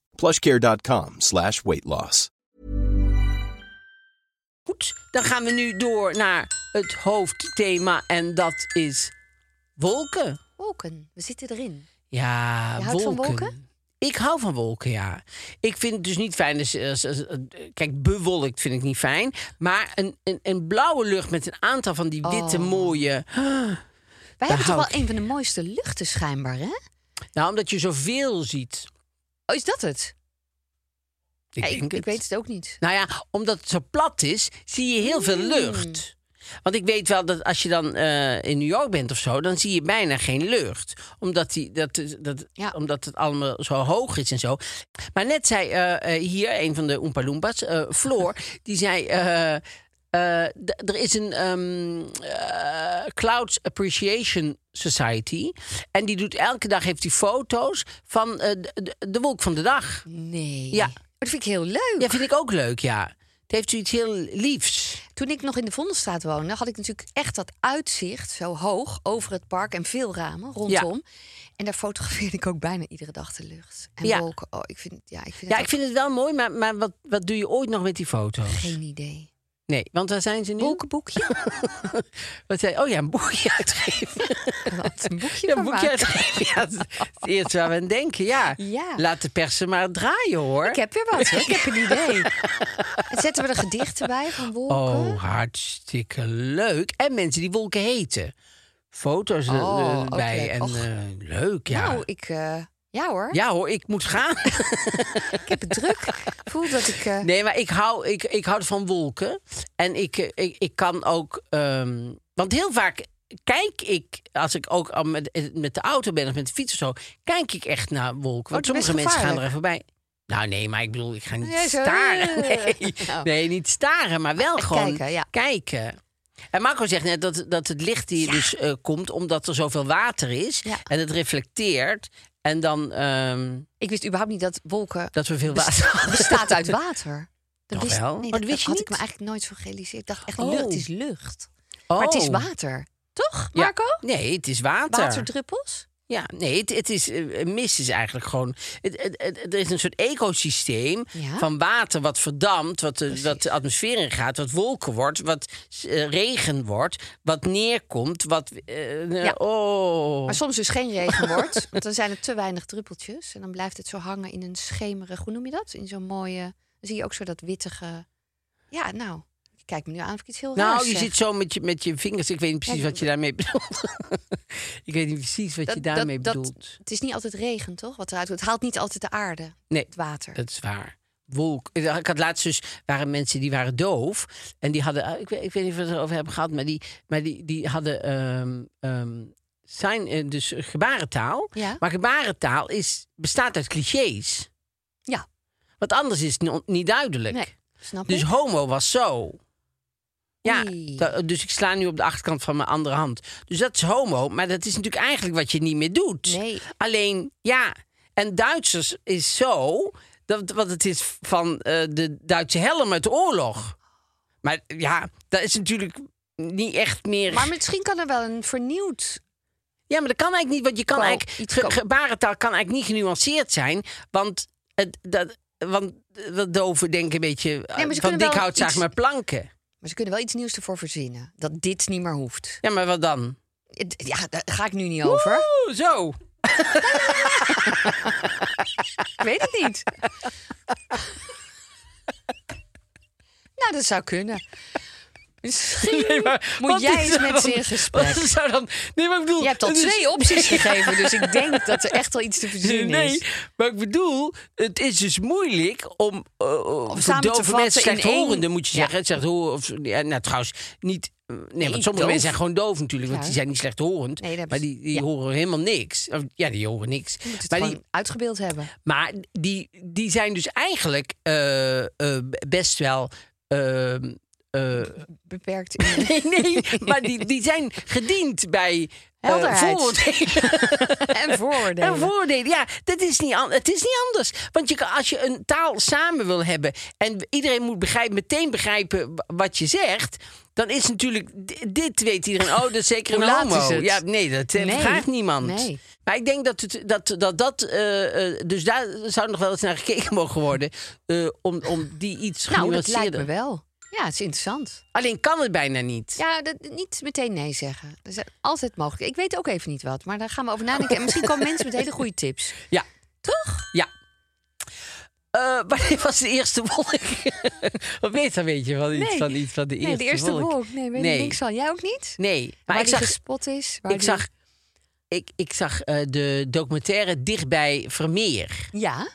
C: plushcare.com slash weight loss.
A: Goed, dan gaan we nu door naar het hoofdthema en dat is wolken.
B: Wolken, we zitten erin.
A: Ja,
B: Je
A: wolken.
B: houdt van wolken?
A: Ik hou van wolken, ja. Ik vind het dus niet fijn. Dus, eh, als- als- eh, kijk, bewolkt vind ik niet fijn. Maar een, een, een blauwe lucht met een aantal van die witte,
B: Oh.
A: mooie.
B: Wij
A: Daar
B: hebben toch
A: hou
B: wel een van de mooiste luchten schijnbaar, hè?
A: Nou, omdat je zoveel ziet.
B: Oh, is dat het?
A: Ik,
B: Ja,
A: denk het.
B: weet het ook niet.
A: Nou ja, omdat het zo plat is, zie je heel veel lucht. Want ik weet wel dat als je dan eh, in New York bent of zo, dan zie je bijna geen lucht. Omdat, die, dat, is- dat,
B: Ja.
A: omdat het allemaal zo hoog is en zo. Maar net zei eh, eh, hier een van de Oompa Loompas, eh, Floor, die zei... eh, eh, d- er is een ehm, eh, Clouds Appreciation Society. En die doet elke dag heeft die foto's van eh, de- de, de wolk van de dag.
B: Nee.
A: Ja.
B: Maar Dat vind ik heel leuk.
A: Ja, vind ik ook leuk, ja. Het heeft zoiets heel liefs.
B: Toen ik nog in de Vondelstraat woonde, had ik natuurlijk echt dat uitzicht zo hoog over het park en veel ramen rondom. En daar fotografeerde ik ook bijna iedere dag de lucht. En
A: Ja.
B: wolken. Oh, ik vind, ja, ik vind
A: Ja,
B: het
A: ik vind het wel mooi, maar, maar wat, wat doe je ooit nog met die foto's?
B: ook geen idee.
A: Nee, want waar zijn ze nu?
B: Wolkenboekje?
A: Wat zei, oh ja, een boekje uitgeven.
B: Wat een boekje
A: Ja,
B: van
A: een boekje
B: maken.
A: uitgeven. Ja, dat is het eerste waar we aan denken, ja.
B: Ja.
A: Laat de persen maar draaien, hoor.
B: Ik heb weer wat, hoor. ik heb een idee. En zetten we er gedichten bij van wolken?
A: Oh, hartstikke leuk. En mensen die wolken heten. Foto's eh,
B: Oh, ook
A: erbij.
B: leuk.
A: En
B: Och.
A: eh, leuk, ja.
B: Nou, ik eh, Ja hoor.
A: Ja hoor, ik moet gaan.
B: Ik heb het druk. Ik voel dat ik. eh,
A: Nee, maar ik hou, ik, ik hou van wolken. En ik, eh, ik, ik kan ook. ehm, want heel vaak kijk ik, als ik ook al met, eh, met de auto ben of met de fiets of zo, kijk ik echt naar wolken. Want
B: Oh, dat is
A: sommige mensen gaan er
B: gevaarlijk.
A: even bij. Nou nee, maar ik bedoel, ik ga niet
B: Nee, zo,
A: staren.
B: eh,
A: Nee.
B: nou.
A: nee, niet staren, maar wel
B: Eh,
A: gewoon
B: kijken, ja.
A: kijken. En Marco zegt net dat, dat het licht hier dus eh, komt omdat er zoveel water is.
B: Ja.
A: En het reflecteert. En dan ehm,
B: Ik wist überhaupt niet dat wolken
A: dat we veel water hadden.
B: bestaat uit water. Dat
A: Toch wel?
B: Nee,
A: Oh,
B: dat,
A: dat wist je
B: had
A: niet?
B: ik me eigenlijk nooit zo gerealiseerd. Ik dacht echt,
A: Oh.
B: lucht, het is lucht. Maar het is
A: Oh.
B: water. Toch,
A: Ja.
B: Marco?
A: Nee, het is water.
B: Waterdruppels?
A: Ja, nee, het, het is, eh, mist is eigenlijk gewoon... Het, het- het- er is een soort ecosysteem
B: Ja.
A: van water wat verdampt, wat, de- wat de atmosfeer ingaat, wat wolken wordt, wat eh, regen wordt, wat neerkomt, wat... eh, eh,
B: Ja.
A: Oh,
B: Maar soms dus geen regen wordt, want dan zijn er te weinig druppeltjes. En dan blijft het zo hangen in een schemerig, hoe noem je dat? In zo'n mooie, dan zie je ook zo dat wittige... Ja, nou, je kijkt me nu aan of ik iets heel raars
A: nou, je
B: zeg.
A: zit zo met je, met je vingers. Ik weet niet precies
B: Ja,
A: wat je daarmee bedoelt. ik weet niet precies wat je daarmee bedoelt.
B: het is niet altijd regen, toch? Wat eruit komt. Het haalt niet altijd de aarde,
A: Nee,
B: het water.
A: Dat is waar. Wolk. Ik had laatst dus, waren mensen die waren doof. En die hadden, oh, ik weet, ik weet niet of we het erover hebben gehad, maar die, maar die, die hadden ehm, ehm, zijn, eh, dus gebarentaal.
B: Ja.
A: Maar gebarentaal is, bestaat uit clichés.
B: Ja,
A: Want anders is het no- niet duidelijk.
B: nee, snap
A: Dus
B: ik.
A: homo was zo. Ja,
B: Oei.
A: da- dus ik sla nu op de achterkant van mijn andere hand. Dus dat is homo, maar dat is natuurlijk eigenlijk wat je niet meer doet.
B: Nee.
A: Alleen, ja, en Duitsers is zo, dat, want het is van eh, de Duitse helm uit de oorlog. Maar ja, dat is natuurlijk niet echt meer...
B: Maar misschien kan er wel een vernieuwd...
A: Ja, maar dat kan eigenlijk niet, want je kan
B: Kan
A: eigenlijk...
B: iets
A: ge-
B: komen.
A: gebarentaal kan eigenlijk niet genuanceerd zijn, want... Het, dat, want eh, dat doven denken een beetje eh,
B: maar ze
A: van
B: kunnen wel
A: dik hout zagen
B: iets-
A: maar planken.
B: Maar ze kunnen wel iets nieuws ervoor verzinnen. Dat dit niet meer hoeft.
A: Ja, maar wat dan?
B: Het- Ja, daar ga ik nu niet over.
A: Oeh, zo.
B: Ik weet het niet. nou, dat zou kunnen. Dus Misschien moet
A: Wat
B: jij
A: is
B: eens
A: er
B: met
A: dan-
B: ze in gesprek.
A: Wat zou dan... Nee, maar ik bedoel...
B: Je hebt al
A: het is-
B: twee opties gegeven, dus ik denk dat er echt wel iets te verzinnen
A: Nee,
B: is.
A: maar ik bedoel, het is dus moeilijk om... eh, voor
B: samen te
A: dove
B: vatten
A: mensen,
B: in
A: slechthorenden
B: één-
A: moet je
B: Ja.
A: zeggen. Het zegt horen of... Ja, nou, trouwens, niet... eh, Nee, want
B: niet
A: sommige
B: doof.
A: mensen zijn gewoon doof natuurlijk, want
B: Ja.
A: die zijn niet slechthorend.
B: Nee, dat hebben
A: maar
B: ze-
A: die, die
B: ja.
A: horen helemaal niks. Of, Ja, die horen niks.
B: Je moet het
A: Maar die,
B: gewoon uitgebeeld hebben.
A: maar die, die zijn dus eigenlijk eh, eh, best wel... eh, eh,
B: Beperkt in... eh,
A: Nee, nee, maar die, die zijn gediend bij eh,
B: Helderheid.
A: vooroordelen.
B: en vooroordelen. Nou,
A: En voordelen, ja, dat is niet an- het is niet anders. Want je, kan- als je een taal samen wil hebben en iedereen moet begrijpen, meteen begrijpen wa- wat je zegt, dan is natuurlijk, di- dit weet iedereen, oh, dat is zeker
B: Hoe
A: een
B: laat
A: homo.
B: is het?
A: Ja, nee, dat eh,
B: Nee.
A: vraagt niemand.
B: Nee.
A: Maar ik denk dat het, dat, dat, dat eh, eh, dus daar zou nog wel eens naar gekeken mogen worden, eh, om, om die iets
B: nou, dat lijkt me
A: genuanceerder.
B: wel. Ja, het is interessant.
A: Alleen kan het bijna niet.
B: Ja, dat, niet meteen nee zeggen. Er zijn altijd mogelijk. Ik weet ook even niet wat, maar daar gaan we over nadenken. En misschien komen mensen met hele goede tips.
A: Ja.
B: Toch?
A: Ja. Eh wanneer was de eerste wolk? Wat weet dan weet je wel iets
B: Nee.
A: van iets van de eerste
B: nee, de eerste wolk. Nee, weet
A: Nee.
B: ik niks van. Jij ook niet?
A: Nee, maar,
B: waar
A: ik
B: die
A: zag,
B: gespot is. waar
A: ik
B: die-
A: zag, ik, ik zag eh, de documentaire dichtbij Vermeer.
B: Ja.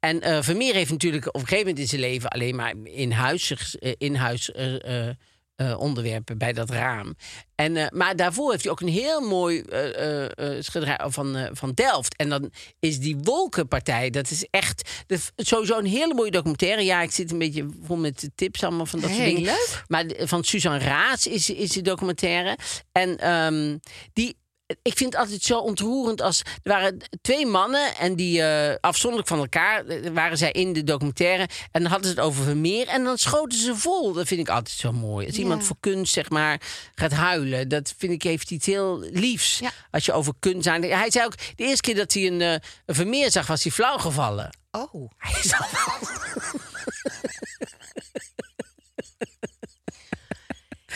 A: En eh, Vermeer heeft natuurlijk op een gegeven moment in zijn leven alleen maar in huis, eh, in huis eh, eh, eh, onderwerpen bij dat raam. En, eh, maar daarvoor heeft hij ook een heel mooi eh, eh, eh, schilderij van, eh, van Delft. En dan is die Wolkenpartij, dat is echt dat is sowieso een hele mooie documentaire. Ja, ik zit een beetje vol met tips allemaal van dat soort
B: Heel
A: dingen.
B: leuk.
A: Maar de- van Suzanne Raas is, is de documentaire. En ehm, die, ik vind het altijd zo ontroerend als... Er waren twee mannen en die eh, afzonderlijk van elkaar eh, waren zij in de documentaire. En dan hadden ze het over Vermeer en dan schoten ze vol. Dat vind ik altijd zo mooi. Als iemand
B: Ja.
A: voor kunst zeg maar gaat huilen. Dat vind ik heeft iets heel liefs.
B: Ja.
A: Als je over kunst aan... Hij zei ook, de eerste keer dat hij een, eh, een Vermeer zag was hij flauw gevallen.
B: Oh.
A: Hij is al wel-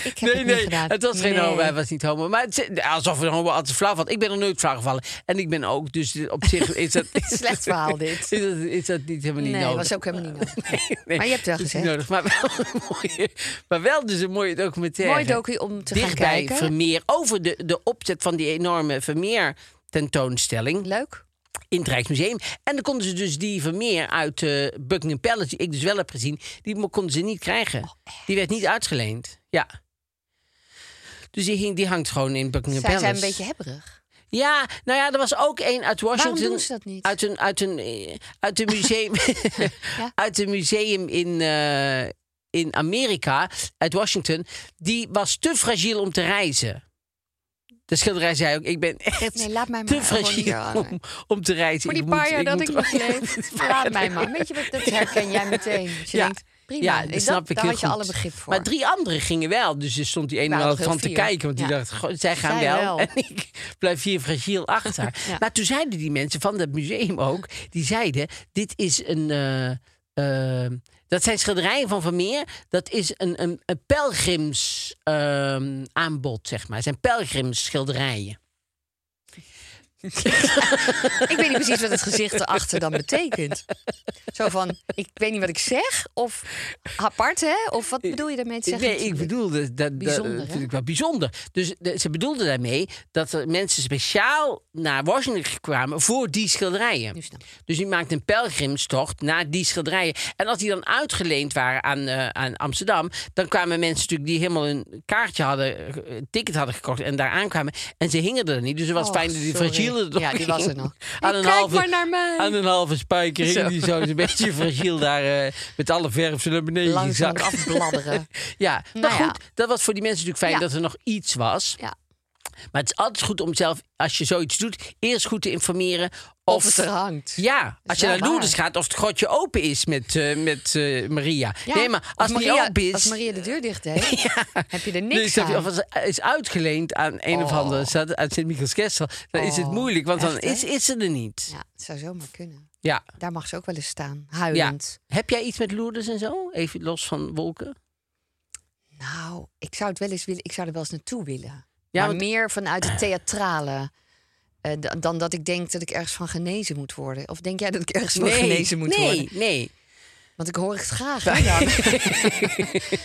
B: Ik heb het niet gedaan.
A: Het was geen
B: Nee.
A: homo, hij was niet homo. Maar het, alsof een homo altijd flauw valt. Ik ben er nooit flauw gevallen. En ik ben ook, dus op zich is dat...
B: Slecht verhaal dit.
A: Is dat, is dat niet helemaal niet
B: Nee,
A: nodig?
B: was ook helemaal niet nodig.
A: Nee, nee,
B: Maar je hebt het wel
A: dat is niet
B: gezegd.
A: Nodig, maar, wel een mooie, maar wel dus een mooie documentaire.
B: Mooi docu om te gaan
A: Dichtbij
B: kijken.
A: Vermeer, over de, de opzet van die enorme Vermeer tentoonstelling.
B: Leuk.
A: in het Rijksmuseum. En dan konden ze dus die Vermeer uit eh, Buckingham Palace, die ik dus wel heb gezien, die mo- konden ze niet krijgen.
B: Oh,
A: die werd niet uitgeleend. Ja. Dus die, hing, die hangt gewoon in Buckingham
B: Zijn zij
A: Palace.
B: een beetje hebberig?
A: Ja, nou ja, er was ook één uit Washington.
B: doen ze dat niet?
A: Uit een, uit een, eh, uit een museum,
B: Ja.
A: uit een museum in, eh, in Amerika, uit Washington. Die was te fragiel om te reizen. De schilderij zei ook, ik ben echt
B: Nee, laat mij
A: te
B: maar gewoon hier
A: fragiel
B: hangen.
A: om, om te reizen.
B: Voor die
A: Ik
B: paar
A: moet-
B: jaar dat ik
A: moet-
B: nog leef, laat mij maar. Weet je, wat, dat herken jij meteen. Dat je
A: Ja.
B: denkt, prima,
A: Ja,
B: Ik-
A: dat
B: dat-
A: snap ik
B: daar
A: heel
B: had je
A: goed.
B: alle begrip voor.
A: Maar drie anderen gingen wel. Dus er stond die ene
B: Waren
A: wel
B: nog heel
A: van te
B: vier.
A: kijken. Want die
B: Ja.
A: dacht, goh, zij gaan
B: Zij
A: wel.
B: wel.
A: En ik blijf hier fragiel achter.
B: Ja.
A: Maar toen zeiden die mensen van dat museum ook... die zeiden, dit is een... eh, eh, dat zijn schilderijen van Vermeer. Dat is een, een, een pelgrims ehm, aanbod, zeg maar. Het zijn pelgrimsschilderijen.
B: Ik weet niet precies wat het gezicht erachter dan betekent. Zo van, ik weet niet wat ik zeg. Of apart, hè? Of wat bedoel je daarmee te zeggen?
A: nee, ik bedoel, dat, dat, dat-
B: Bijzonder,
A: dat
B: hè?
A: vind ik wel bijzonder. Dus de- ze bedoelden daarmee dat er mensen speciaal naar Washington kwamen voor die schilderijen.
B: Nu snap ik.
A: Dus die maakt een pelgrimstocht naar die schilderijen. En als die dan uitgeleend waren aan, eh, aan Amsterdam, dan kwamen mensen natuurlijk die helemaal een kaartje hadden, eh, een ticket hadden gekocht en daar aankwamen. En ze hingen er niet. Dus het was
B: Och,
A: fijn dat die
B: sorry.
A: fragiele er nog
B: Ja, die was er
A: hing.
B: nog.
A: Aan
B: Hey,
A: een
B: kijk
A: halve,
B: maar naar mij.
A: Aan een halve spijker hing
B: Zo.
A: die zo Dus een beetje fragiel daar eh, met alle verf zo naar beneden
B: Langzaam
A: gezakt.
B: afbladderen.
A: Ja, maar
B: Nou ja.
A: goed, dat was voor die mensen natuurlijk fijn
B: Ja.
A: dat er nog iets was.
B: Ja.
A: Maar het is altijd goed om zelf, als je zoiets doet, eerst goed te informeren. Of,
B: Of het er hangt.
A: Ja, als je
B: wel
A: naar Lourdes
B: waar.
A: gaat, of het grotje open is met, eh, met eh, Maria.
B: Ja,
A: nee, maar als het
B: Maria,
A: niet open is...
B: Als Maria de deur dicht heeft, heb je
A: Nee,
B: er niks
A: snap je,
B: aan.
A: of als het is uitgeleend aan een of
B: Oh.
A: andere stad, uit sint michiels Kessel, dan is het
B: Oh,
A: moeilijk, want dan
B: echt, hè?
A: is, is het er niet.
B: Ja, het zou zomaar kunnen.
A: Ja.
B: Daar mag ze ook wel eens staan,
A: ja.
B: huilend.
A: Heb jij iets met Lourdes en zo? Even los van wolken?
B: Nou, ik zou het wel eens willen. Ik zou er wel eens naartoe willen.
A: Ja,
B: maar
A: want-
B: meer vanuit het theatrale. eh, da- dan dat ik denk dat ik ergens van genezen moet worden. Of denk jij dat ik ergens van genezen moet
A: nee,
B: worden?
A: nee.
B: Want ik hoor het graag. hè, dan.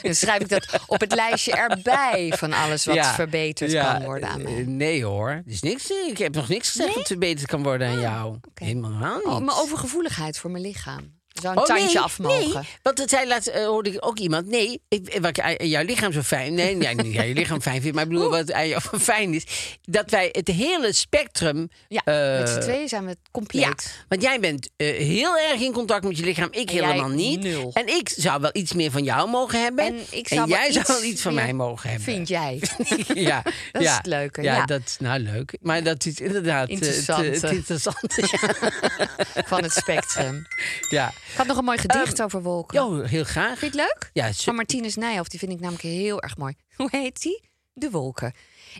B: dan schrijf ik dat op het lijstje erbij van alles wat
A: Ja,
B: verbeterd
A: ja,
B: kan worden aan mij.
A: eh, Nee hoor, Er is niks, eh, ik heb nog niks gezegd dat verbeterd kan worden aan jou. Helemaal niet.
B: Ah, Oh, mijn overgevoeligheid voor mijn lichaam. Er Zou een
A: Oh,
B: tandje
A: nee,
B: af mogen.
A: Nee, want dat zei laatst, eh, hoorde ik ook iemand. Nee, ik, eh, wat ik aan jouw lichaam zo fijn... Nee, nee, niet aan je lichaam fijn vindt, maar ik bedoel wat aan jou fijn is. Dat wij het hele spectrum...
B: Ja,
A: eh,
B: met z'n tweeën zijn we
A: ja,
B: compleet.
A: want jij bent eh, heel erg in contact met je lichaam. Ik
B: En
A: helemaal
B: jij
A: niet.
B: nul.
A: En ik zou wel iets meer van jou mogen hebben.
B: En ik zou wel
A: jij
B: iets
A: zou wel iets van
B: meer-
A: mij mogen hebben.
B: Vind jij?
A: ja,
B: Dat is
A: ja,
B: het leuke,
A: Ja,
B: ja.
A: dat is nou leuk. Maar dat is inderdaad eh, het-
B: Interessant,
A: het,
B: hè?
A: interessante.
B: van het spectrum.
A: ja.
B: Ik had nog een mooi gedicht over wolken.
A: Jo, heel graag.
B: Vind je Oh, het leuk?
A: Ehm, Ja,
B: Van
A: super.
B: Martinus Nijhoff, die vind ik namelijk heel erg mooi. Hoe heet die? De wolken.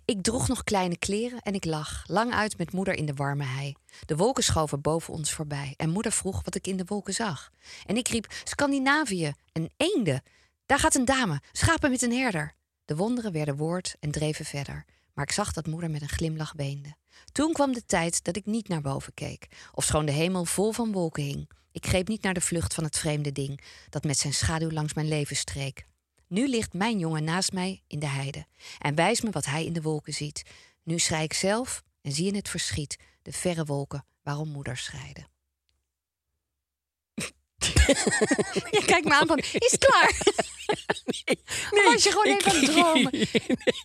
B: Ik droeg nog kleine kleren en ik lag, lang uit met moeder in de warme hei. De wolken schoven boven ons voorbij en moeder vroeg wat ik in de wolken zag. En ik riep, Scandinavië, een eenden. Daar gaat een dame, schapen met een herder. De wonderen werden woord en dreven verder. Maar ik zag dat moeder met een glimlach weende. Toen kwam de tijd dat ik niet naar boven keek, ofschoon de hemel vol van wolken hing. Ik greep niet naar de vlucht van het vreemde ding dat met zijn schaduw langs mijn leven streek. Nu ligt mijn jongen naast mij in de heide en wijst me wat hij in de wolken ziet. Nu schrij ik zelf en zie in het verschiet de verre wolken waarom moeders schrijden. Je kijkt me aan van, is het klaar? Nee, was je gewoon
A: ik-
B: even aan het dromen?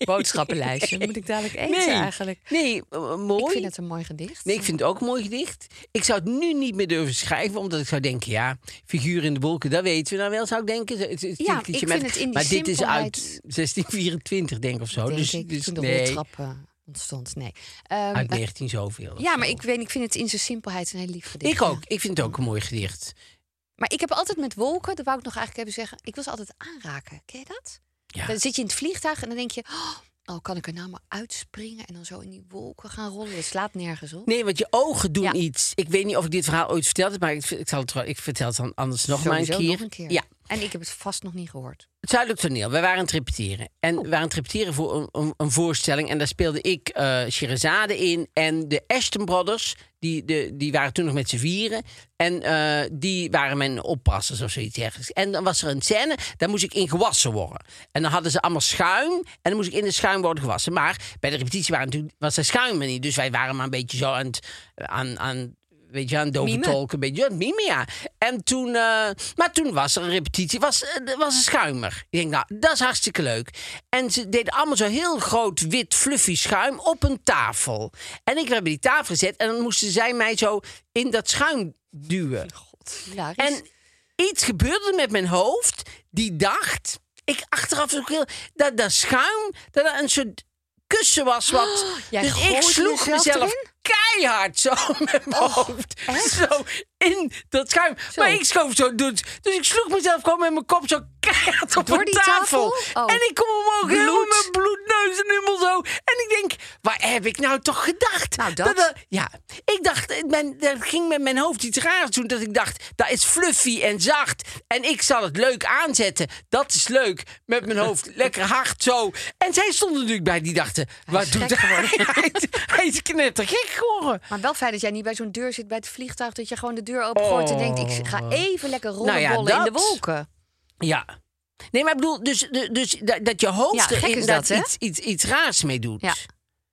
B: Boodschappenlijstje, moet ik dadelijk eten
A: Nee.
B: eigenlijk?
A: Nee, eh, mooi.
B: Ik vind het een mooi gedicht.
A: Nee, ik vind het ook een mooi gedicht. Ik zou het nu niet meer durven schrijven, omdat ik zou denken: ja, figuur in de wolken, dat weten we nou wel, zou ik denken. Het- het- het
B: Ja,
A: liedje
B: ik
A: met-
B: vind het in die
A: Maar dit is uit
B: simpelheid-
A: 1624, denk ik of zo.
B: Denk
A: dus
B: ik,
A: dus
B: toen de
A: nee,
B: roltrap eh, ontstond. Nee. Ehm,
A: uit 19 zoveel. of
B: ja, maar
A: zo.
B: ik, weet, ik vind het in zijn simpelheid een heel lief gedicht.
A: Ik
B: ja.
A: ook. Ik vind het ook een mooi gedicht.
B: Maar ik heb altijd met wolken, dat wou ik nog eigenlijk even zeggen, ik wil ze altijd aanraken. Ken je dat?
A: Ja.
B: Dan zit je in het vliegtuig en dan denk je, oh, oh, kan ik er nou maar uitspringen en dan zo in die wolken gaan rollen? Het slaat nergens op.
A: Nee, want je ogen doen
B: Ja.
A: iets. Ik weet niet of ik dit verhaal ooit verteld heb, maar ik, ik, zal het, wel- ik vertel het dan anders nog
B: Sowieso
A: maar een keer.
B: nog een keer.
A: Ja,
B: En ik heb het vast nog niet gehoord.
A: het Zuidelijk Toneel. We waren aan het repeteren. En we
B: Oh.
A: waren aan het repeteren voor een, een, een voorstelling. En daar speelde ik eh Sherazade in. En de Ashton Brothers, die, de, die waren toen nog met z'n vieren. En eh, die waren mijn oppassers of zoiets ergens. En dan was er een scène, daar moest ik in gewassen worden. En dan hadden ze allemaal schuim. En dan moest ik in de schuim worden gewassen. Maar bij de repetitie waren, natuurlijk- was er schuim er niet. Dus wij waren maar een beetje zo aan het... Aan, aan weet je, aan dove
B: Mimen.
A: tolken, een beetje ja, mimen, ja. En toen, eh, maar toen was er een repetitie, was, eh, er was een schuimer. Ik denk, nou, dat is hartstikke leuk. En ze deden allemaal zo heel groot, wit, fluffy schuim op een tafel. En ik werd bij die tafel gezet en dan moesten zij mij zo in dat schuim duwen.
B: Hilarisch.
A: En iets gebeurde met mijn hoofd die dacht, ik achteraf ook heel, dat dat schuim, dat er een soort kussen was wat.
B: jij
A: dus ik
B: gooide
A: sloeg
B: jezelf
A: mezelf
B: erin?
A: keihard zo met mijn hoofd. Zo in dat schuim. Maar ik schoof zo door. het- Dus ik sloeg mezelf gewoon met mijn kop zo keihard op
B: Door
A: de
B: die
A: tafel.
B: tafel? Oh.
A: En ik kom omhoog helemaal
B: Bloed.
A: met bloedneus en helemaal zo. En ik denk, waar heb ik nou toch gedacht?
B: Nou, dat.
A: er- ja, ik dacht, eh, mijn, dat ging met mijn hoofd iets raars doen. Dat ik dacht, dat is fluffy en zacht. En ik zal het leuk aanzetten. Dat is leuk. Met mijn hoofd lekker hard zo. En zij stonden natuurlijk bij die dachten, wat
B: is
A: doet
B: gek
A: hij? Hij is- Hij is knettergek geworden.
B: Maar wel fijn dat jij niet bij zo'n deur zit bij het vliegtuig. Dat je gewoon de deur opengooit en denkt... ik ga even lekker
A: Nou ja,
B: rollenbollen in de
A: dat.
B: wolken.
A: Ja. Nee, maar ik bedoel, dus, dus, dus dat, dat je hoofd
B: Ja,
A: er
B: gek is
A: inderdaad
B: dat, hè?
A: iets, iets, iets raars mee doet.
B: Ja.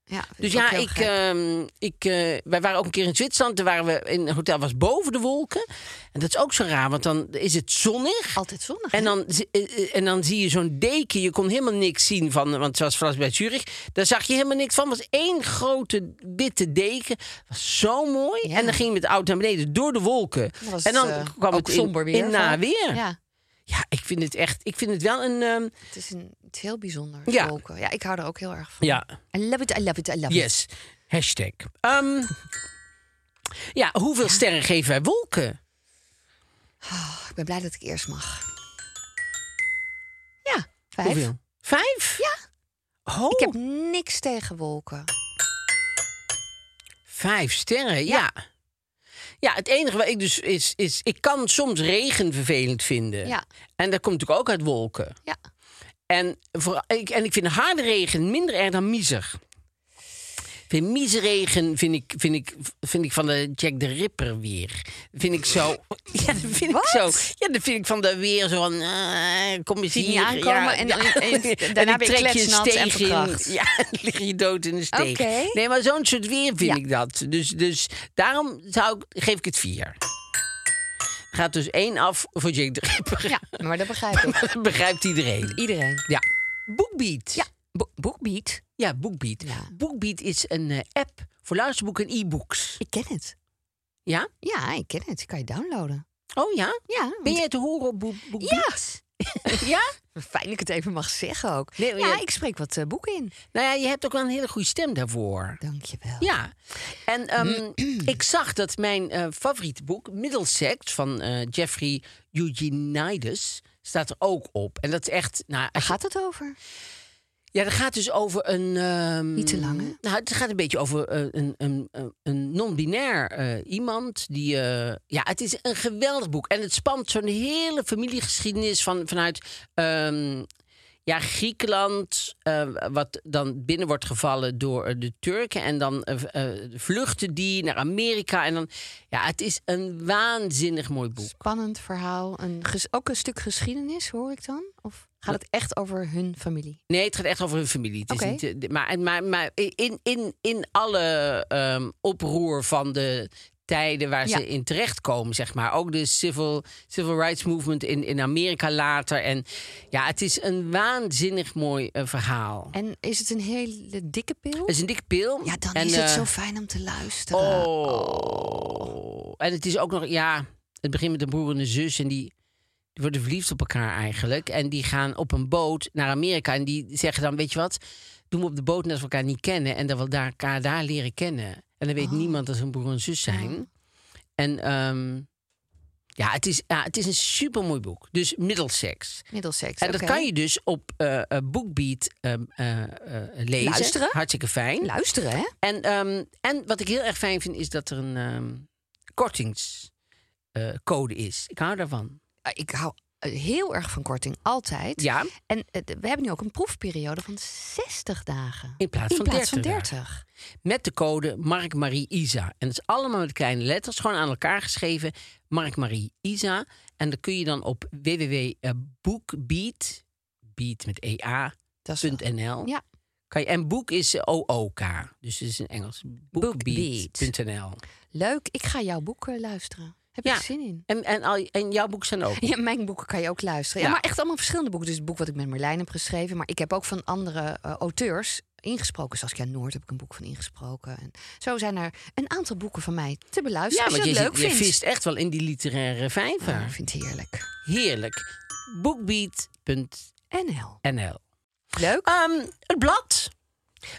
B: ja
A: Dus ja, ik, ehm, ik, eh, wij waren ook een keer in Zwitserland. Toen waren we in een hotel was boven de wolken. En dat is ook zo raar, want dan is het zonnig.
B: Altijd zonnig.
A: En dan, zi- eh, eh, en dan zie je zo'n deken. Je kon helemaal niks zien van. Want het was vlak bij Zurich. Daar zag je helemaal niks van. Het was één grote witte deken. Was zo mooi.
B: Ja.
A: En dan ging je met de auto naar beneden door de wolken.
B: was
A: en dan
B: eh,
A: kwam
B: ook
A: het in,
B: somber weer.
A: in na
B: vaak.
A: weer. Ja.
B: Ja,
A: ik vind het echt. Ik vind het wel een. ehm,
B: het is, een, het is heel bijzonder.
A: Ja.
B: Ja. Wolken. ja, ik hou er ook heel erg van.
A: ja,
B: I love it, I love it, I love it.
A: yes. Hashtag. Ehm, ja, hoeveel sterren geven wij wolken?
B: Ik ben blij dat ik eerst mag. Ja, vijf.
A: Hoeveel? Vijf?
B: Ja.
A: Oh,
B: Ik heb niks tegen wolken.
A: vijf sterren, ja. ja. het enige wat ik dus is, is... Ik kan soms regen vervelend vinden.
B: Ja.
A: En dat komt natuurlijk ook uit wolken.
B: Ja.
A: En, voor, ik, en ik vind harde regen minder erg dan miser. Ik vind miserregen vind ik, vind, ik, vind ik van de Jack de Ripper weer. Vind ik zo. Ja, dat vind
B: Wat?
A: ik zo. Ja, dat vind ik van de weer zo van. eh, kom eens
B: Zie je
A: hier.
B: niet aankomen
A: ja,
B: en-
A: ja.
B: en- en- daarna
A: ik
B: ben je
A: trek
B: kletsnat
A: een
B: en
A: steeg in.
B: verkracht.
A: Ja, dan lig je dood in een steeg.
B: Oké.
A: Nee, maar zo'n soort weer vind
B: Ja.
A: ik dat. Dus, dus daarom zou ik, geef ik het vier. Gaat dus één af voor Jack de Ripper.
B: Ja, maar dat begrijp ik.
A: Begrijpt iedereen.
B: Iedereen.
A: Ja. Bookbeat.
B: Ja, bo- Bookbeat.
A: Ja, Bookbeat.
B: Ja.
A: Bookbeat is een eh, app voor luisterboeken en e-books.
B: Ik ken het.
A: Ja?
B: Ja, ik ken het. Ik kan je downloaden.
A: Oh ja?
B: Ja.
A: Ben
B: want-
A: jij te horen op Book-
B: Ja.
A: Bookbeat? ja?
B: Fijn dat ik het even mag zeggen ook.
A: Nee,
B: ja,
A: ja.
B: ik spreek wat eh, boeken in.
A: Nou ja, je hebt ook wel een hele goede stem daarvoor.
B: Dankjewel.
A: Ja. En ehm, ik zag dat mijn eh, favoriete boek, Middlesex, van eh, Jeffrey Eugenides, staat er ook op. En dat is echt... Nou,
B: Waar
A: als je-
B: gaat het over?
A: Ja, dat gaat dus over een... ehm,
B: Niet te lang, hè?
A: Nou, het gaat een beetje over eh, een, een, een- een non-binair eh, iemand. Die, eh, ja, het is een geweldig boek. En het spant zo'n hele familiegeschiedenis van, vanuit ehm, ja, Griekenland. eh, wat dan binnen wordt gevallen door eh, de Turken. En dan eh, v- eh, vluchten die naar Amerika. En dan, ja, het is een waanzinnig mooi boek.
B: Spannend verhaal. Een ges- ook een stuk geschiedenis, hoor ik dan? Of gaat het echt over hun familie?
A: Nee, het gaat echt over hun familie. Het
B: Oké.
A: is niet, eh, de- maar maar, maar in, in, in alle ehm, oproer van de tijden waar
B: Ja.
A: ze in terechtkomen, zeg maar. Ook de civil, civil rights movement in, in Amerika later. En ja, het is een waanzinnig mooi eh, verhaal.
B: En is het een hele dikke pil?
A: Het is een dikke pil.
B: Ja, dan
A: En,
B: is het
A: eh,
B: zo fijn om te luisteren.
A: Oh. En het is ook nog, ja, het begint met een broer en een zus en die, die worden verliefd op elkaar eigenlijk. En die gaan op een boot naar Amerika en die zeggen dan, weet je wat, doen we op de boot net we elkaar niet kennen en dat we daar- elkaar daar leren kennen. En dan weet
B: Oh.
A: niemand dat ze een broer en zus zijn. En ehm, ja, het is, ja, het is een supermooi boek. Dus Middlesex.
B: Middelseks.
A: En dat
B: oké.
A: kan je dus op eh eh, Bookbeat eh, eh, eh, lezen.
B: Luisteren.
A: Hartstikke fijn.
B: luisteren, hè?
A: En, ehm, en wat ik heel erg fijn vind, is dat er een kortingscode is. Ik hou daarvan.
B: Ah, Ik hou eh, heel erg van korting, altijd.
A: Ja,
B: En eh, d- we hebben nu ook een proefperiode van 60 dagen.
A: in plaats
B: In
A: van
B: plaats
A: 30.
B: van
A: dagen.
B: 30.
A: Met de code Mark Marie Isa. En dat is allemaal met kleine letters, gewoon aan elkaar geschreven. Mark Marie Isa. En dat kun je dan op www.bookbeat, beat met E ea,
B: Dat is wel-
A: .nl,
B: Ja.
A: Kan je, en Boek is eh, OOK. Dus het is in Engels. Bookbeat.nl.
B: Leuk, ik ga jouw boek eh, luisteren. Heb
A: Ja.
B: je zin in?
A: En, en, al, en jouw boeken zijn ook.
B: Ja, mijn boeken kan je ook luisteren. Ja,
A: Ja.
B: maar echt allemaal verschillende boeken. Dus het boek wat ik met Marlijn heb geschreven. Maar ik heb ook van andere eh, auteurs ingesproken. Saskia Noord heb ik een boek van ingesproken. En zo zijn er een aantal boeken van mij te beluisteren.
A: want
B: als je
A: Dus je,
B: het leuk
A: zit- je
B: vindt.
A: vist echt wel in die literaire vijver.
B: Ja, ik vind het heerlijk.
A: Heerlijk. Bookbeat.nl
B: NL. Leuk.
A: Ehm, Het blad.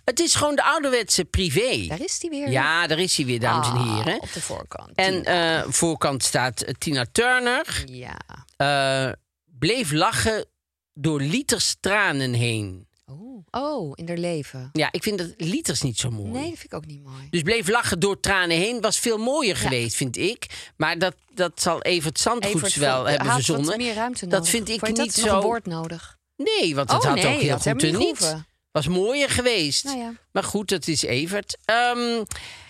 A: Het is gewoon de ouderwetse privé.
B: Ah, Daar is die weer.
A: Ja, daar is hij weer, dames en
B: Ah,
A: heren.
B: Op de voorkant.
A: En eh, voorkant staat eh, Tina Turner.
B: Ja.
A: eh, bleef lachen door liters tranen heen.
B: Oh. oh, in haar leven.
A: Ja, ik vind dat liters niet zo mooi.
B: Nee, dat vind ik ook niet mooi.
A: Dus bleef lachen door tranen heen was veel mooier geweest, vind ik. Maar dat, dat zal Evert Zandgoeds
B: Evert
A: wel
B: vond-
A: hebben
B: had wat
A: verzonnen.
B: meer ruimte
A: dat
B: nodig.
A: vind ik
B: Vond je dat
A: niet
B: nog
A: zo-
B: een woord nodig.
A: Nee, want het
B: Oh,
A: had
B: nee,
A: ook heel
B: dat
A: goed
B: hebben we
A: er
B: niet
A: niet.
B: hoeven.
A: Was mooier geweest.
B: Nou ja.
A: Maar goed, dat is Evert. Ehm,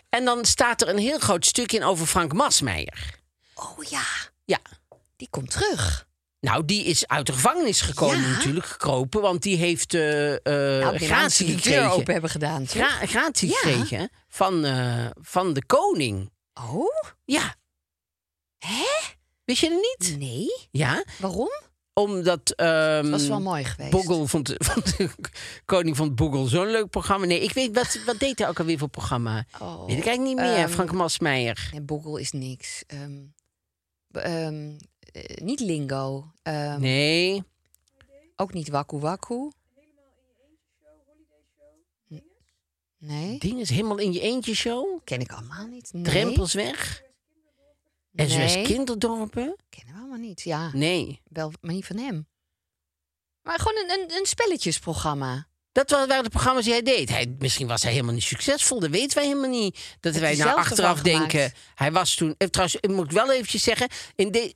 A: en dan staat er een heel groot stuk in over Frank Masmeijer.
B: Oh ja,
A: Ja.
B: die komt terug.
A: Nou, die is uit de gevangenis gekomen
B: Ja.
A: natuurlijk, gekropen. Want die heeft eh eh
B: Nou, ik denk ze
A: gratie
B: die deur
A: gekregen.
B: open hebben gedaan. toch?
A: Gra gratie
B: Ja.
A: gekregen hè, van, eh, van de koning.
B: Oh?
A: Ja.
B: Hè?
A: Wist je dat niet?
B: Nee.
A: Ja,
B: Waarom?
A: omdat... ehm,
B: Dat was wel mooi geweest.
A: Boggel vond, de- vond de koning van Boggel zo'n leuk programma. Nee, ik weet, wat, wat deed hij ook alweer voor programma?
B: Oh,
A: weet ik eigenlijk niet meer,
B: ehm,
A: Frank Masmeijer.
B: Nee, Boggel is niks. Ehm, b- ehm, eh, niet lingo. Ehm,
A: Nee,
B: Ook niet waku waku. Nee.
A: ding is helemaal in je eentje show.
B: Ken ik allemaal niet. Nee.
A: Drempels weg. En zoals
B: Nee. Ah.
A: kinderdorpen.
B: Kennen we allemaal niet. Ja,
A: Nee,
B: wel, maar niet van hem. Maar gewoon een, een, een spelletjesprogramma.
A: dat wa- waren de programma's die hij deed. Hij, misschien was hij helemaal niet succesvol, dat weten wij helemaal niet. Dat
B: Heeft
A: wij nou
B: hij zelf ervan
A: achteraf
B: gemaakt?
A: denken. Hij was toen. eh, Trouwens, ik moet wel eventjes zeggen. In de,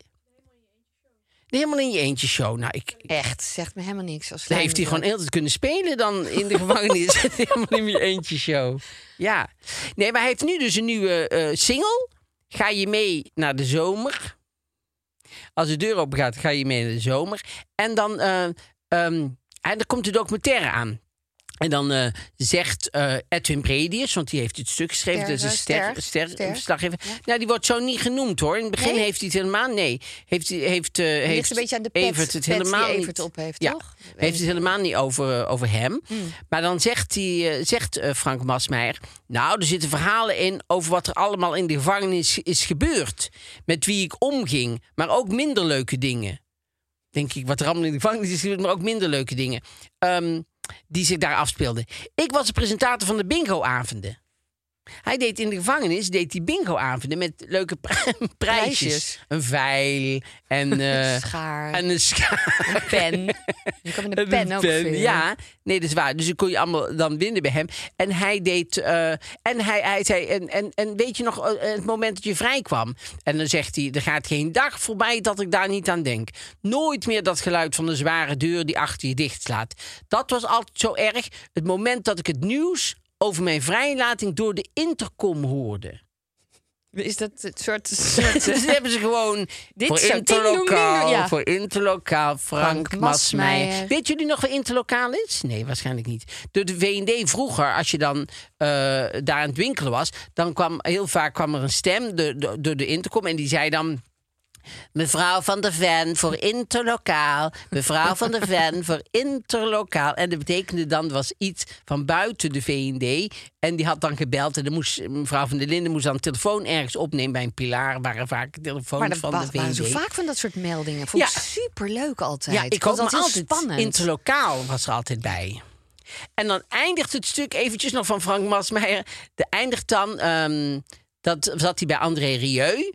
A: helemaal in je eentje show. Nou, ik,
B: Echt, zegt me helemaal niks. Als
A: Dan heeft hij gewoon
B: lijnbeeld.
A: heel de tijd kunnen spelen dan in de gevangenis. Helemaal in je eentje show. Ja. Nee, maar hij heeft nu dus een nieuwe eh, single. Ga je mee naar de zomer? Als de deur open gaat, ga je mee naar de zomer. En dan eh, ehm, en er komt de documentaire aan. En dan eh, zegt eh, Edwin Bredius, want die heeft het stuk geschreven.
B: Ster,
A: dat is een
B: eh,
A: ster,
B: ster,
A: ster,
B: ster.
A: verslaggever. Nou, die wordt zo niet genoemd hoor. In het begin
B: Nee?
A: heeft hij het helemaal. Nee, heeft, hij- heeft, eh,
B: Het
A: heeft
B: ligt een beetje aan de pet,
A: Evert het
B: pet
A: helemaal
B: die
A: niet-
B: Evert op heeft,
A: Ja.
B: toch?
A: Hij heeft het helemaal niet over, eh, over hem. Maar dan zegt, hij, eh, zegt eh, Frank Masmeijer... nou, er zitten verhalen in over wat er allemaal in de gevangenis is gebeurd. Met wie ik omging, maar ook minder leuke dingen. Denk ik, wat er allemaal in de gevangenis is gebeurd... maar ook minder leuke dingen ehm, die zich daar afspeelden. Ik was de presentator van de bingo-avonden. Hij deed in de gevangenis deed die bingo-avonden met leuke pri- prijsjes.
B: Prijsjes.
A: Een veil en, eh,
B: schaar,
A: en een schaar.
B: een pen. Je kan met een pen ook
A: Pen,
B: vullen.
A: Ja, nee, dat is waar. Dus dan kon je allemaal dan winnen bij hem. En hij deed. eh, en hij, hij zei. En, en, en weet je nog eh, het moment dat je vrij kwam? En dan zegt hij: Er gaat geen dag voorbij dat ik daar niet aan denk. Nooit meer dat geluid van de zware deur die achter je dicht slaat. Dat was altijd zo erg. Het moment dat ik het nieuws over mijn vrijlating door de intercom hoorde.
B: Is dat het soort...
A: Dus
B: soort
A: dan hebben ze gewoon
B: Dit
A: voor
B: zo, ding, dong, ding,
A: interlokaal,
B: ja.
A: voor interlokaal Frank,
B: Frank
A: Masmeijer.
B: Masmeijer.
A: Weet jullie nog wat interlokaal is? Nee, waarschijnlijk niet. Door de V&D vroeger, als je dan eh, daar aan het winkelen was, dan kwam heel vaak kwam er een stem door de, door de intercom en die zei dan. Mevrouw van der Ven voor interlokaal. Mevrouw van der Ven voor interlokaal. En dat betekende dan was iets van buiten de VND. En die had dan gebeld. En dan moest, mevrouw van der Linden moest dan een telefoon ergens opnemen bij een pilaar. Waren vaak telefoons
B: maar er
A: van de
B: wa- waren zo
A: VND.
B: vaak van dat soort meldingen. Vond ik
A: Ja.
B: superleuk altijd.
A: Ja, ik
B: vond
A: had
B: dat heel
A: altijd
B: spannend.
A: Interlokaal was er altijd bij. En dan eindigt het stuk eventjes nog van Frank Masmeijer. De eindigt dan, ehm, dat zat hij bij André Rieu.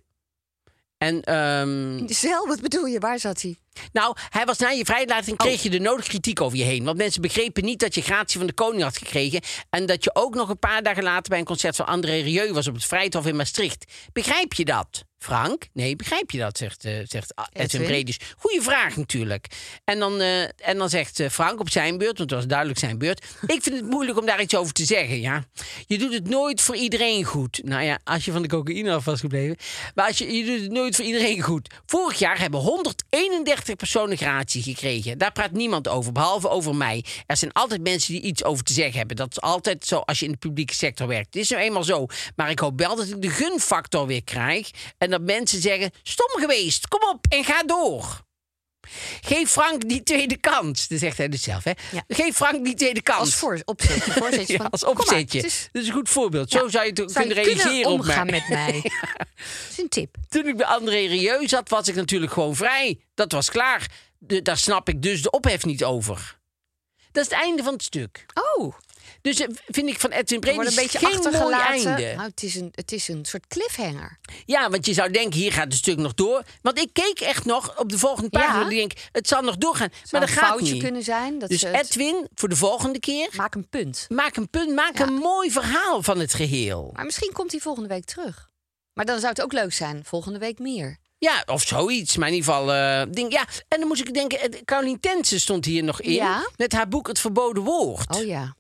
A: En ehm,
B: Zelf, wat bedoel je? Waar zat hij?
A: nou, hij was na je vrijlating kreeg je de nodige kritiek over je heen. Want mensen begrepen niet dat je gratie van de koning had gekregen. En dat je ook nog een paar dagen later bij een concert van André Rieu was op het Vrijthof in Maastricht. Begrijp je dat? Frank, nee, begrijp je dat? Zegt, eh zegt ah, Edwin
B: Edwin.
A: Bredis. Goeie vraag natuurlijk. En dan, eh, en dan zegt eh, Frank op zijn beurt, want dat was duidelijk zijn beurt. Ik vind het moeilijk om daar iets over te zeggen, ja. Je doet het nooit voor iedereen goed. Nou ja, als je van de cocaïne af was gebleven. Maar als je, je doet het nooit voor iedereen goed. Vorig jaar hebben 131 personen gratie gekregen. Daar praat niemand over, behalve over mij. Er zijn altijd mensen die iets over te zeggen hebben. Dat is altijd zo als je in de publieke sector werkt. Het is nou eenmaal zo. Maar ik hoop wel dat ik de gunfactor weer krijg. En dat mensen zeggen, stom geweest, kom op en ga door. Geef Frank die tweede kans. Dat zegt hij dus zelf, hè?
B: Ja.
A: Geef Frank die tweede kans.
B: Als voor, opzetje. voorzetje
A: Ja,
B: van,
A: als
B: kom maar,
A: opzetje.
B: het is-
A: Dat is een goed voorbeeld. Zo zou je toch
B: zou
A: kunnen
B: je kunnen
A: reageren op mij.
B: omgaan met mij. Dat is een tip.
A: Toen ik bij André Rieu zat, was ik natuurlijk gewoon vrij. Dat was klaar. De- daar snap ik dus de ophef niet over. Dat is het einde van het stuk.
B: Oh,
A: Dus eh, vind ik van Edwin
B: er wordt
A: Bredis
B: een beetje
A: geen mooi
B: achtergelaten.
A: einde.
B: Nou, het, is een, het is een soort cliffhanger.
A: Ja, want je zou denken, hier gaat het stuk nog door. Want ik keek echt nog op de volgende pagina.
B: Ja.
A: Ik denk, het zal nog doorgaan. maar
B: Zou
A: dat
B: een
A: gaat
B: foutje
A: niet.
B: kunnen zijn. Dat
A: dus
B: ze het-
A: Edwin, voor de volgende keer,
B: Maak een punt.
A: maak een punt. Maak
B: Ja.
A: een mooi verhaal van het geheel.
B: Maar misschien komt hij volgende week terug. Maar dan zou het ook leuk zijn. Volgende week meer.
A: Ja, of zoiets. Maar in ieder geval. eh, ding, ja. En dan moest ik denken. eh, Caroline Tensen stond hier nog in.
B: Ja.
A: Met haar boek Het Verboden Woord.
B: Oh ja.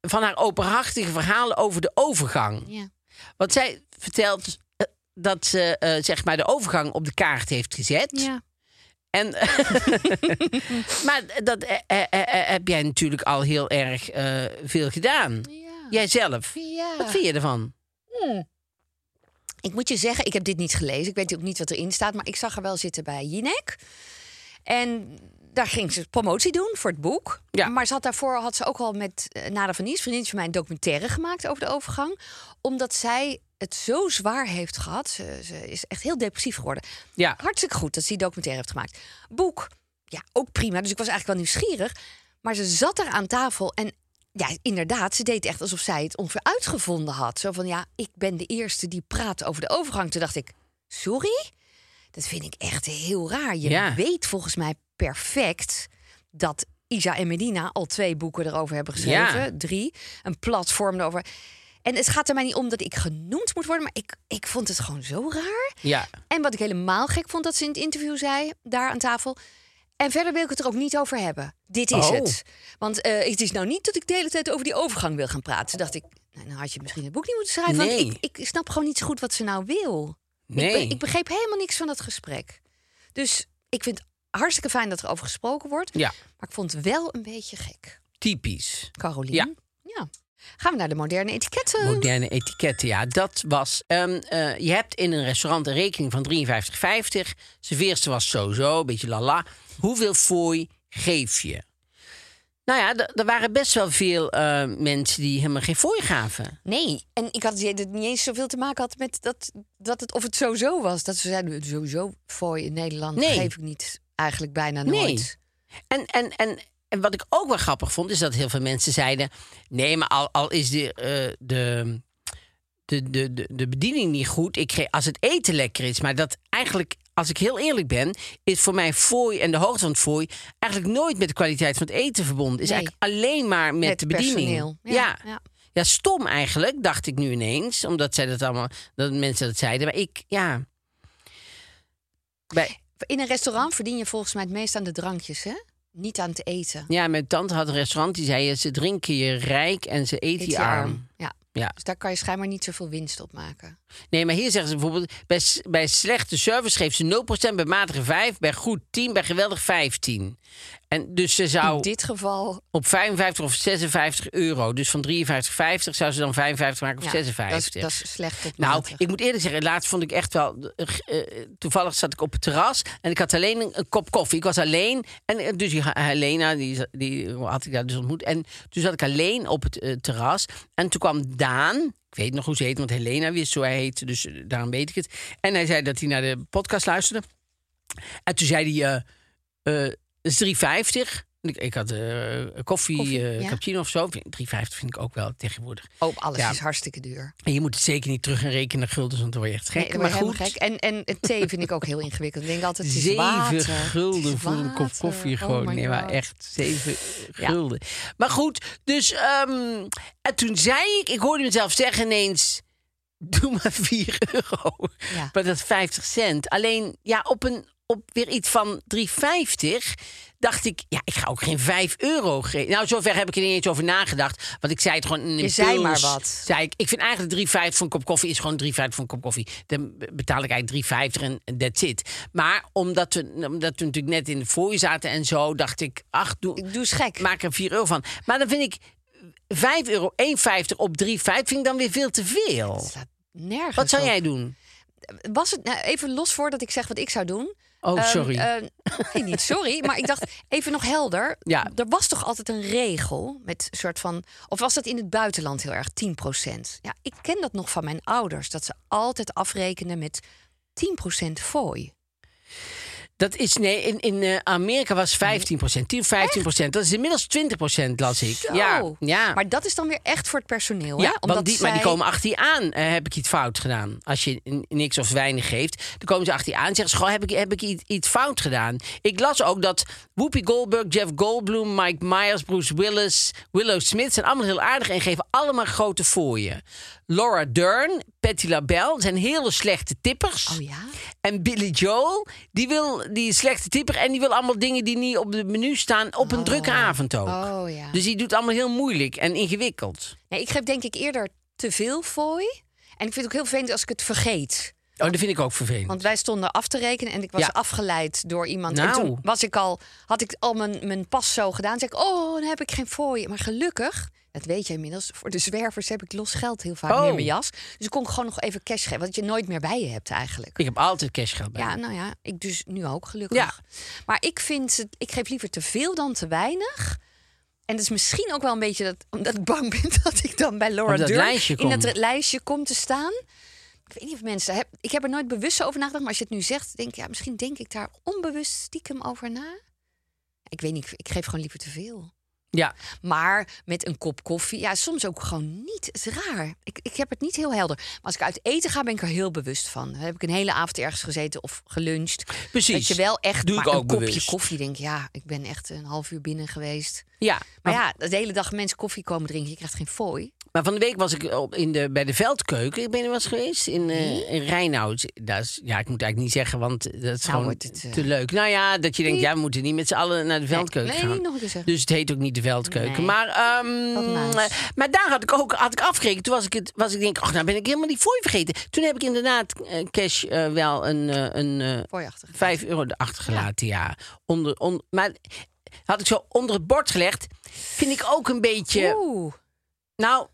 A: Van haar openhartige verhalen over de overgang.
B: ja.
A: Want zij vertelt eh, dat ze eh, zeg maar de overgang op de kaart heeft gezet.
B: ja.
A: En, maar dat eh, eh, eh, eh, heb jij natuurlijk al heel erg eh, veel gedaan.
B: Ja.
A: Jijzelf.
B: Ja.
A: Wat vind je ervan?
B: Ik moet je zeggen, ik heb dit niet gelezen. Ik weet ook niet wat erin staat. Maar ik zag haar wel zitten bij Jinek. En daar ging ze promotie doen voor het boek.
A: Ja.
B: Maar ze had daarvoor had ze ook al met eh, Nada van Nies, vriendin van mij, een documentaire gemaakt over de overgang. Omdat zij het zo zwaar heeft gehad. Ze, ze is echt heel depressief geworden.
A: Ja.
B: Hartstikke goed dat ze die documentaire heeft gemaakt. Boek, ja, ook prima. Dus ik was eigenlijk wel nieuwsgierig. Maar ze zat daar aan tafel en ja, inderdaad, ze deed echt alsof zij het ongeveer uitgevonden had. Zo van, ja, ik ben de eerste die praat over de overgang. Toen dacht ik, sorry? Dat vind ik echt heel raar. Je
A: Ja.
B: weet volgens mij perfect dat Isa en Medina al twee boeken erover hebben geschreven.
A: Ja.
B: Drie. Een platform erover. En het gaat er mij niet om dat ik genoemd moet worden, maar ik, ik vond het gewoon zo raar.
A: Ja.
B: En wat ik helemaal gek vond dat ze in het interview zei, daar aan tafel. En verder wil ik het er ook niet over hebben. Dit is
A: Oh.
B: het. Want eh, het is nou niet dat ik de hele tijd over die overgang wil gaan praten. Toen dacht ik, nou, nou had je misschien het boek niet moeten schrijven.
A: Nee.
B: Want ik, ik snap gewoon niet zo goed wat ze nou wil. Ik,
A: Nee.
B: be- ik begreep helemaal niks van dat gesprek. Dus ik vind het hartstikke fijn dat er over gesproken wordt.
A: Ja.
B: Maar ik vond het wel een beetje gek,
A: Typisch.
B: Carolien.
A: Ja.
B: Ja. Gaan we naar de moderne etiketten.
A: Moderne etiketten, ja, dat was. ehm, eh, je hebt in een restaurant een rekening van 53,50. Serveerste was sowieso, een beetje lala. Hoeveel fooi geef je? Nou ja, d- er waren best wel veel eh, mensen die helemaal geen fooi gaven.
B: Nee, en ik had het idee dat het niet eens zoveel te maken had met dat, dat het of het sowieso was. Dat ze zeiden, sowieso fooi in Nederland
A: Nee.
B: geef ik niet eigenlijk bijna
A: Nee.
B: nooit.
A: En, en, en, en wat ik ook wel grappig vond, is dat heel veel mensen zeiden: nee, maar al, al is de, eh, de, de, de, de, de bediening niet goed, ik kreeg, als het eten lekker is. Maar dat eigenlijk, als ik heel eerlijk ben, is voor mij fooi en de hoogte van het fooi eigenlijk nooit met de kwaliteit van het eten verbonden. Is
B: Nee.
A: eigenlijk alleen maar met, de
B: het
A: bediening.
B: personeel.
A: ja.
B: ja.
A: Ja, stom eigenlijk, dacht ik nu ineens. Omdat zij dat allemaal, dat mensen dat zeiden. Maar ik, ja. Bij,
B: In een restaurant verdien je volgens mij het meest aan de drankjes, hè? Niet aan het eten.
A: Ja, mijn tante had een restaurant. Die zei, ze drinken je rijk en ze eten
B: Eet
A: je
B: je
A: arm.
B: Ja.
A: Ja.
B: Dus daar kan je schijnbaar niet zoveel winst op maken.
A: Nee, maar hier zeggen ze bijvoorbeeld... bij, s- bij slechte service geeft ze 0%, bij matige 5, bij goed 10, bij geweldig 15. En dus ze
B: In
A: zou
B: dit geval.
A: op 55 of 56 euro... dus van 53,50 zou ze dan 55 maken of
B: Ja, dat, is,
A: 56.
B: dat is slecht op
A: Nou, ik moet eerlijk zeggen, laatst vond ik echt wel. eh, eh, toevallig zat ik op het terras en ik had alleen een, een kop koffie. Ik was alleen. En eh, dus die, Helena, die, die had ik daar dus ontmoet. En toen zat ik alleen op het eh, terras. En toen kwam Daan. Ik weet nog hoe ze heet, want Helena wist hoe hij heette. Dus eh, daarom weet ik het. En hij zei dat hij naar de podcast luisterde. En toen zei hij. eh, eh, het is 3,50. Ik, ik had eh, koffie,
B: Koffie,
A: eh,
B: ja.
A: cappuccino of zo. 3,50 vind ik ook wel tegenwoordig.
B: Oh, alles
A: Ja.
B: is hartstikke duur.
A: En je moet het zeker niet terug gaan rekenen naar guldens, want dan word je echt gek.
B: Nee, dan
A: maar
B: word je
A: goed,
B: helemaal gek. En, en het thee vind ik ook heel ingewikkeld. Ik denk altijd, het is
A: zeven
B: water. Het
A: gulden
B: is
A: voor een kop
B: water.
A: koffie
B: Oh
A: gewoon.
B: my
A: nee, maar
B: God.
A: echt zeven
B: Ja.
A: gulden. Maar goed, dus ehm, en toen zei ik, ik hoorde mezelf zeggen ineens... doe maar 4 euro.
B: Ja.
A: Maar dat is 50 cent. Alleen ja, op, een, op weer iets van 3,50 dacht ik, ja, ik ga ook geen 5 euro geven. Nou, zover heb ik er niet eens over nagedacht. Want ik zei het gewoon in een
B: Je zei
A: impuls.
B: maar wat.
A: Zei ik, ik vind eigenlijk 3,50 voor een kop koffie is gewoon 3,50 voor een kop koffie. Dan betaal ik eigenlijk 3,50 en en that's it. Maar omdat we, omdat we natuurlijk net in de fooi zaten en zo, dacht ik, ach, doe,
B: Ik doe eens gek.
A: maak er 4 euro van. Maar dan vind ik 5 euro 1,50 op 3,50 vind ik dan weer veel te veel.
B: Het slaat nergens
A: Wat zou
B: op.
A: jij doen?
B: Was het, nou, even los voordat ik zeg wat ik zou doen.
A: Oh,
B: Ehm,
A: sorry.
B: ehm, nee, niet sorry, maar ik dacht even nog helder.
A: Ja.
B: Er was toch altijd een regel met soort van. Of was dat in het buitenland heel erg 10%? Ja, ik ken dat nog van mijn ouders, dat ze altijd afrekenen met 10% fooi.
A: Dat is, nee, in, in eh, Amerika was 15 10, 15 Dat is inmiddels 20 las ik.
B: Zo.
A: Ja, ja.
B: Maar dat is dan weer echt voor het personeel.
A: ja
B: hè?
A: want die, maar die
B: zij-
A: komen achter je aan. eh, heb ik iets fout gedaan? Als je n- niks of weinig geeft, dan komen ze achter je aan. en Zeggen ze, "Goh, heb ik, heb ik iets, iets fout gedaan? Ik las ook dat Whoopi Goldberg, Jeff Goldblum, Mike Myers, Bruce Willis, Willow Smith... zijn allemaal heel aardig en geven allemaal grote fooien. Laura Dern, Patti LaBelle zijn hele slechte tippers.
B: Oh ja?
A: En Billy Joel, die, wil, die is slechte typer en die wil allemaal dingen die niet op het menu staan op een drukke avond ook.
B: Oh ja.
A: Dus die doet allemaal heel moeilijk en ingewikkeld.
B: Nee, ik geef denk ik eerder te veel fooi. En ik vind het ook heel vervelend als ik het vergeet.
A: Oh, dat vind ik ook vervelend.
B: Want wij stonden af te rekenen en ik was
A: Ja.
B: afgeleid door iemand. En
A: Nou.
B: toen was ik al, had ik al mijn, mijn pas zo gedaan. Zeg ik, oh, dan heb ik geen fooi. Maar gelukkig, dat weet je inmiddels, voor de zwervers heb ik los geld heel vaak
A: Oh.
B: in mijn jas. Dus ik kon gewoon nog even cash geven, wat je nooit meer bij je hebt eigenlijk.
A: Ik heb altijd cashgeld bij.
B: Ja,
A: me.
B: nou ja, ik dus nu ook gelukkig. Maar ik vind het, ik geef liever te veel dan te weinig. En dat is misschien ook wel een beetje dat, omdat ik bang ben dat ik dan bij Laura
A: Op dat
B: Dern
A: lijstje
B: in dat
A: komt.
B: lijstje kom te staan. Ik weet niet of mensen, heb- ik heb er nooit bewust zo over nagedacht, maar als je het nu zegt, denk ik, ja, misschien denk ik daar onbewust stiekem over na. Ik weet niet, ik geef gewoon liever te veel.
A: Ja.
B: Maar met een kop koffie, ja, soms ook gewoon niet. Het is raar. Ik, ik heb het niet heel helder. Maar als ik uit eten ga, ben ik er heel bewust van. Dan heb ik een hele avond ergens gezeten of geluncht.
A: Precies.
B: Dat je wel echt
A: Doe
B: maar
A: ik
B: een
A: ook
B: kopje
A: bewust.
B: koffie denk ja, ik ben echt een half uur binnen geweest.
A: ja.
B: Maar ja, de hele dag mensen koffie komen drinken, je krijgt geen fooi.
A: Maar van de week was ik op in de, bij de Veldkeuken. Ik ben er wel eens geweest in,
B: Hm?
A: eh in Rijnhout. Daar is, ja, ik moet eigenlijk niet zeggen, want dat is gewoon
B: wordt het, eh,
A: te leuk. Nou ja, dat je denkt, ja, we moeten niet met z'n allen naar de Veldkeuken
B: nee,
A: gaan.
B: niet nog een keer zeggen.
A: Dus het heet ook niet de Veldkeuken.
B: Nee.
A: Maar, ehm,
B: Wat nice.
A: eh, maar daar had ik ook had ik afgerekend. Toen was ik, het, was ik denk, ach, nou ben ik helemaal die fooi vergeten. Toen heb ik inderdaad eh, cash eh, wel een, eh, een eh,
B: Fooiachtig.
A: 5 euro erachter gelaten, ja. Onder, on, maar had ik zo onder het bord gelegd, vind ik ook een beetje...
B: Oeh,
A: Nou,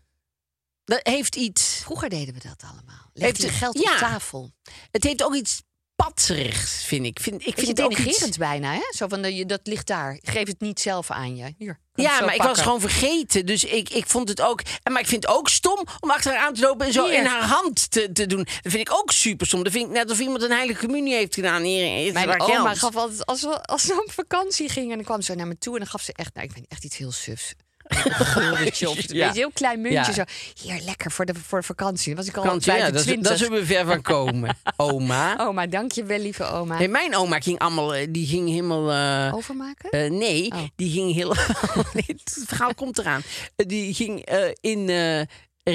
A: dat heeft iets.
B: vroeger deden we dat allemaal.
A: Heeft
B: Leg je
A: het-
B: geld
A: ja.
B: op tafel.
A: Het heeft ook iets patserigs, vind ik. Vind, ik
B: Ik vind
A: vind
B: het
A: het ook iets-
B: denigrerend bijna, hè? Zo van, eh, je- dat ligt daar. Geef het niet zelf aan je. Hier, kan
A: Ja, maar
B: het zo
A: ik was
B: pakken.
A: gewoon vergeten. Dus ik, ik vond het ook. En maar ik vind het ook stom om achter haar aan te lopen en zo
B: Hier.
A: in haar hand te, te doen. Dat vind ik ook super stom. Dat vind ik net of iemand een heilige communie heeft gedaan. Hier, is
B: Mijn
A: waar
B: oma
A: geld.
B: gaf altijd, als we, als we op vakantie gingen... en dan kwam ze naar me toe en dan gaf ze echt... Nou, ik weet niet, echt iets heel sufs. Een gulletje of
A: Ja.
B: weet je, een heel klein
A: Ja.
B: muntje. Zo. Hier, lekker voor de voor vakantie. Dan was ik al Oh.
A: Kant, ja, dat,
B: 25.
A: dat zullen we ver van komen. Oma.
B: Oma, dank je wel, lieve oma.
A: Nee, mijn oma ging allemaal. eh, Die ging helemaal. eh,
B: Overmaken?
A: Eh, nee,
B: Oh.
A: die ging heel. Nee, het verhaal komt eraan. Eh, die ging eh, in eh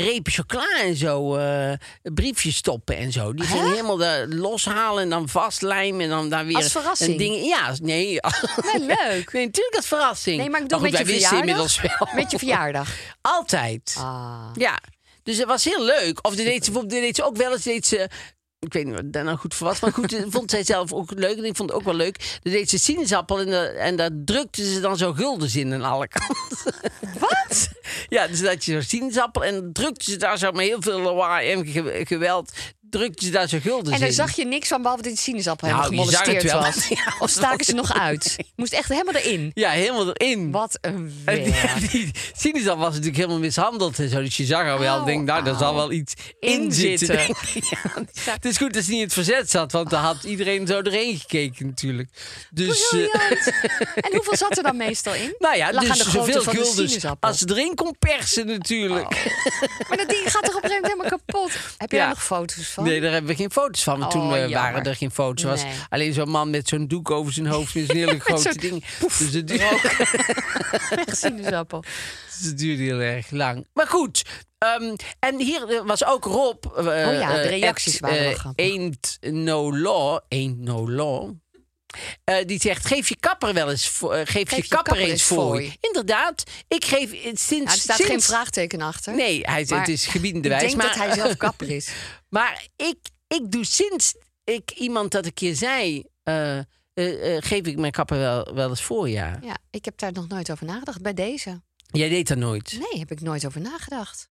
A: repen chocola en zo eh, briefjes stoppen en zo. Die ging helemaal de, loshalen en dan vastlijmen en dan daar weer.
B: Als verrassing?
A: een Ding, ja, nee.
B: Nee, leuk.
A: Nee, natuurlijk als verrassing.
B: Nee, maar ik bedoel
A: goed,
B: met je
A: wij wisten
B: verjaardag.
A: inmiddels wel.
B: Met je verjaardag.
A: Altijd.
B: Ah.
A: Ja, dus dat was heel leuk. Of die deed ze, bijvoorbeeld, die deed ze ook wel eens. Deed ze, ik weet niet wat daar nou goed voor was. Maar goed, dat vond zij zelf ook leuk. En ik vond het ook wel leuk. Dan deed ze sinaasappel en, da- en daar drukte ze dan zo guldens in aan alle kanten. Wat? ja, dus dat je zo sinaasappel en dan drukte ze daar zo met heel veel lawaai en ge- geweld. Drukte ze daar zo guldens
B: En daar
A: in.
B: zag je niks van, behalve dat die sinaasappel
A: Nou,
B: helemaal
A: je zag het
B: gemolesteerd
A: wel.
B: was.
A: Ja,
B: Of staken ze nog uit? Moest echt helemaal erin.
A: Ja, helemaal erin.
B: Wat een
A: En die,
B: werk.
A: die sinaasappel was natuurlijk helemaal mishandeld en zo. Dus je zag al wel,
B: Au,
A: denk, nou, daar
B: au.
A: zal wel iets in zitten. denk ik. Ja, het is goed dat ze niet in het verzet zat, want dan had iedereen zo erheen gekeken natuurlijk. Dus, eh,
B: Briljant. En hoeveel zat er dan meestal in?
A: nou ja,
B: Lag aan
A: dus
B: de grootte
A: zoveel
B: van de
A: guldens
B: sinaasappel. Oh,
A: als ze erin kon persen natuurlijk.
B: Maar dat ding gaat toch op een gegeven moment helemaal kapot? Heb je
A: Ja.
B: daar nog foto's van?
A: Nee, daar hebben we geen foto's van. Want
B: Oh,
A: toen eh, waren
B: jammer.
A: er geen foto's. Er was
B: Nee.
A: alleen zo'n man met zo'n doek over zijn hoofd. Met zo'n hele grote
B: zo'n
A: ding. Dus dat-
B: Echt sinaasappel. Nou,
A: het duurde heel erg lang. Maar goed. ehm, en hier eh, was ook Rob. eh,
B: Oh ja, de
A: eh,
B: reacties
A: at,
B: waren wel
A: eh,
B: grappig.
A: Ain't no law. Ain't no law. Eh, die zegt, geef je kapper wel eens voor. eh, geef, je, kapper, eens voor.
B: fooi.
A: Inderdaad, ik geef eh, sinds.
B: Nou, er staat
A: sinds,
B: geen vraagteken achter.
A: Nee, hij,
B: Maar
A: het is gebiedende
B: Ik
A: wijs.
B: denk
A: maar,
B: dat hij zelf kapper is.
A: maar ik, ik doe sinds ik iemand dat ik je zei, eh, eh, eh, geef ik mijn kapper wel, wel eens voor, ja.
B: Ja, ik heb daar nog nooit over nagedacht. Bij deze.
A: Jij deed dat nooit.
B: Nee, heb ik nooit over nagedacht.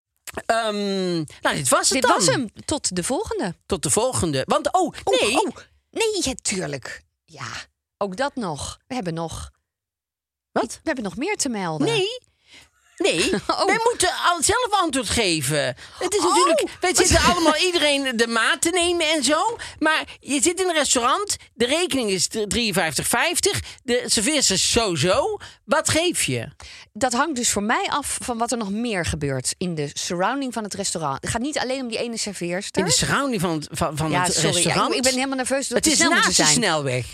A: Ehm, nou, dit was het
B: Dit
A: dan.
B: was hem. Tot de volgende.
A: Tot de volgende. Want, oh,
B: Oeh,
A: nee.
B: oh, nee, ja, tuurlijk. Ja, ook dat nog. We hebben nog.
A: Wat?
B: We hebben nog meer te melden.
A: Nee. Nee,
B: Oh.
A: wij moeten al- zelf antwoord geven. Het is natuurlijk,
B: Oh.
A: wij zitten allemaal iedereen de maat te nemen en zo. Maar je zit in een restaurant, de rekening is 53,50. De service is zo-zo. Wat geef je?
B: Dat hangt dus voor mij af van wat er nog meer gebeurt in de surrounding van het restaurant. Het gaat niet alleen om die ene serveerster.
A: In de surrounding van, het- van, van
B: ja,
A: het
B: sorry. ja,
A: restaurant?
B: ik, ik ben helemaal nerveus dat
A: het is
B: snel
A: naast
B: moeten zijn.
A: de snelweg.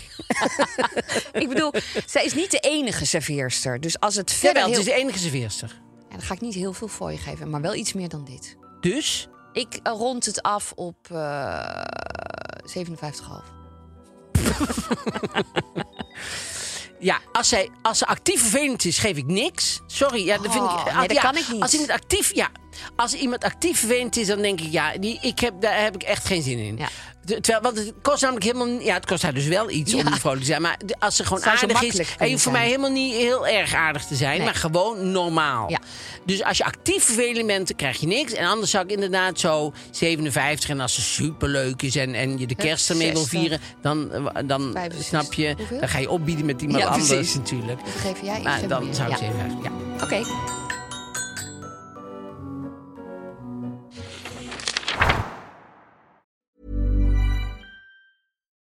B: Ik bedoel, zij is niet de enige serveerster. Dus als het verder
A: Jawel, het
B: heel...
A: is de enige serveerster.
B: Ja, dan ga ik niet heel veel voor je geven, maar wel iets meer dan dit.
A: Dus?
B: Ik eh, rond het af op eh 57,5.
A: Ja, als, zij, als ze actief vervelend is, geef ik niks. Sorry, ja, dat vind ik.
B: Oh, nee,
A: ah,
B: dat
A: ja,
B: kan ik niet.
A: Als iemand actief, ja, als iemand actief vervelend is, dan denk ik, ja, die, ik heb, daar heb ik echt geen zin in.
B: Ja.
A: Te- Terwijl, want het kost namelijk helemaal niet- Ja, het kost haar dus wel iets om
B: Ja.
A: niet vrolijk te zijn. Maar de- als ze gewoon
B: Zou zo
A: aardig is.
B: makkelijk
A: En je
B: kunnen
A: hoeft voor mij
B: zijn.
A: helemaal niet heel erg aardig te zijn,
B: Nee.
A: maar gewoon normaal.
B: Ja.
A: Dus als je actief vervelend bent, krijg je niks. En anders zou ik inderdaad zo 57. En als ze superleuk is en, en je de kerst ermee wil
B: 60.
A: vieren, dan, eh, dan eh,
B: 65.
A: snap je.
B: Hoeveel?
A: Dan ga je opbieden met iemand
B: Ja,
A: anders
B: precies.
A: natuurlijk.
B: Wat geef jij? Ik
A: Nou,
B: geef
A: dan
B: meer.
A: zou ik
B: Ja.
A: zeggen, ja.
B: Oké.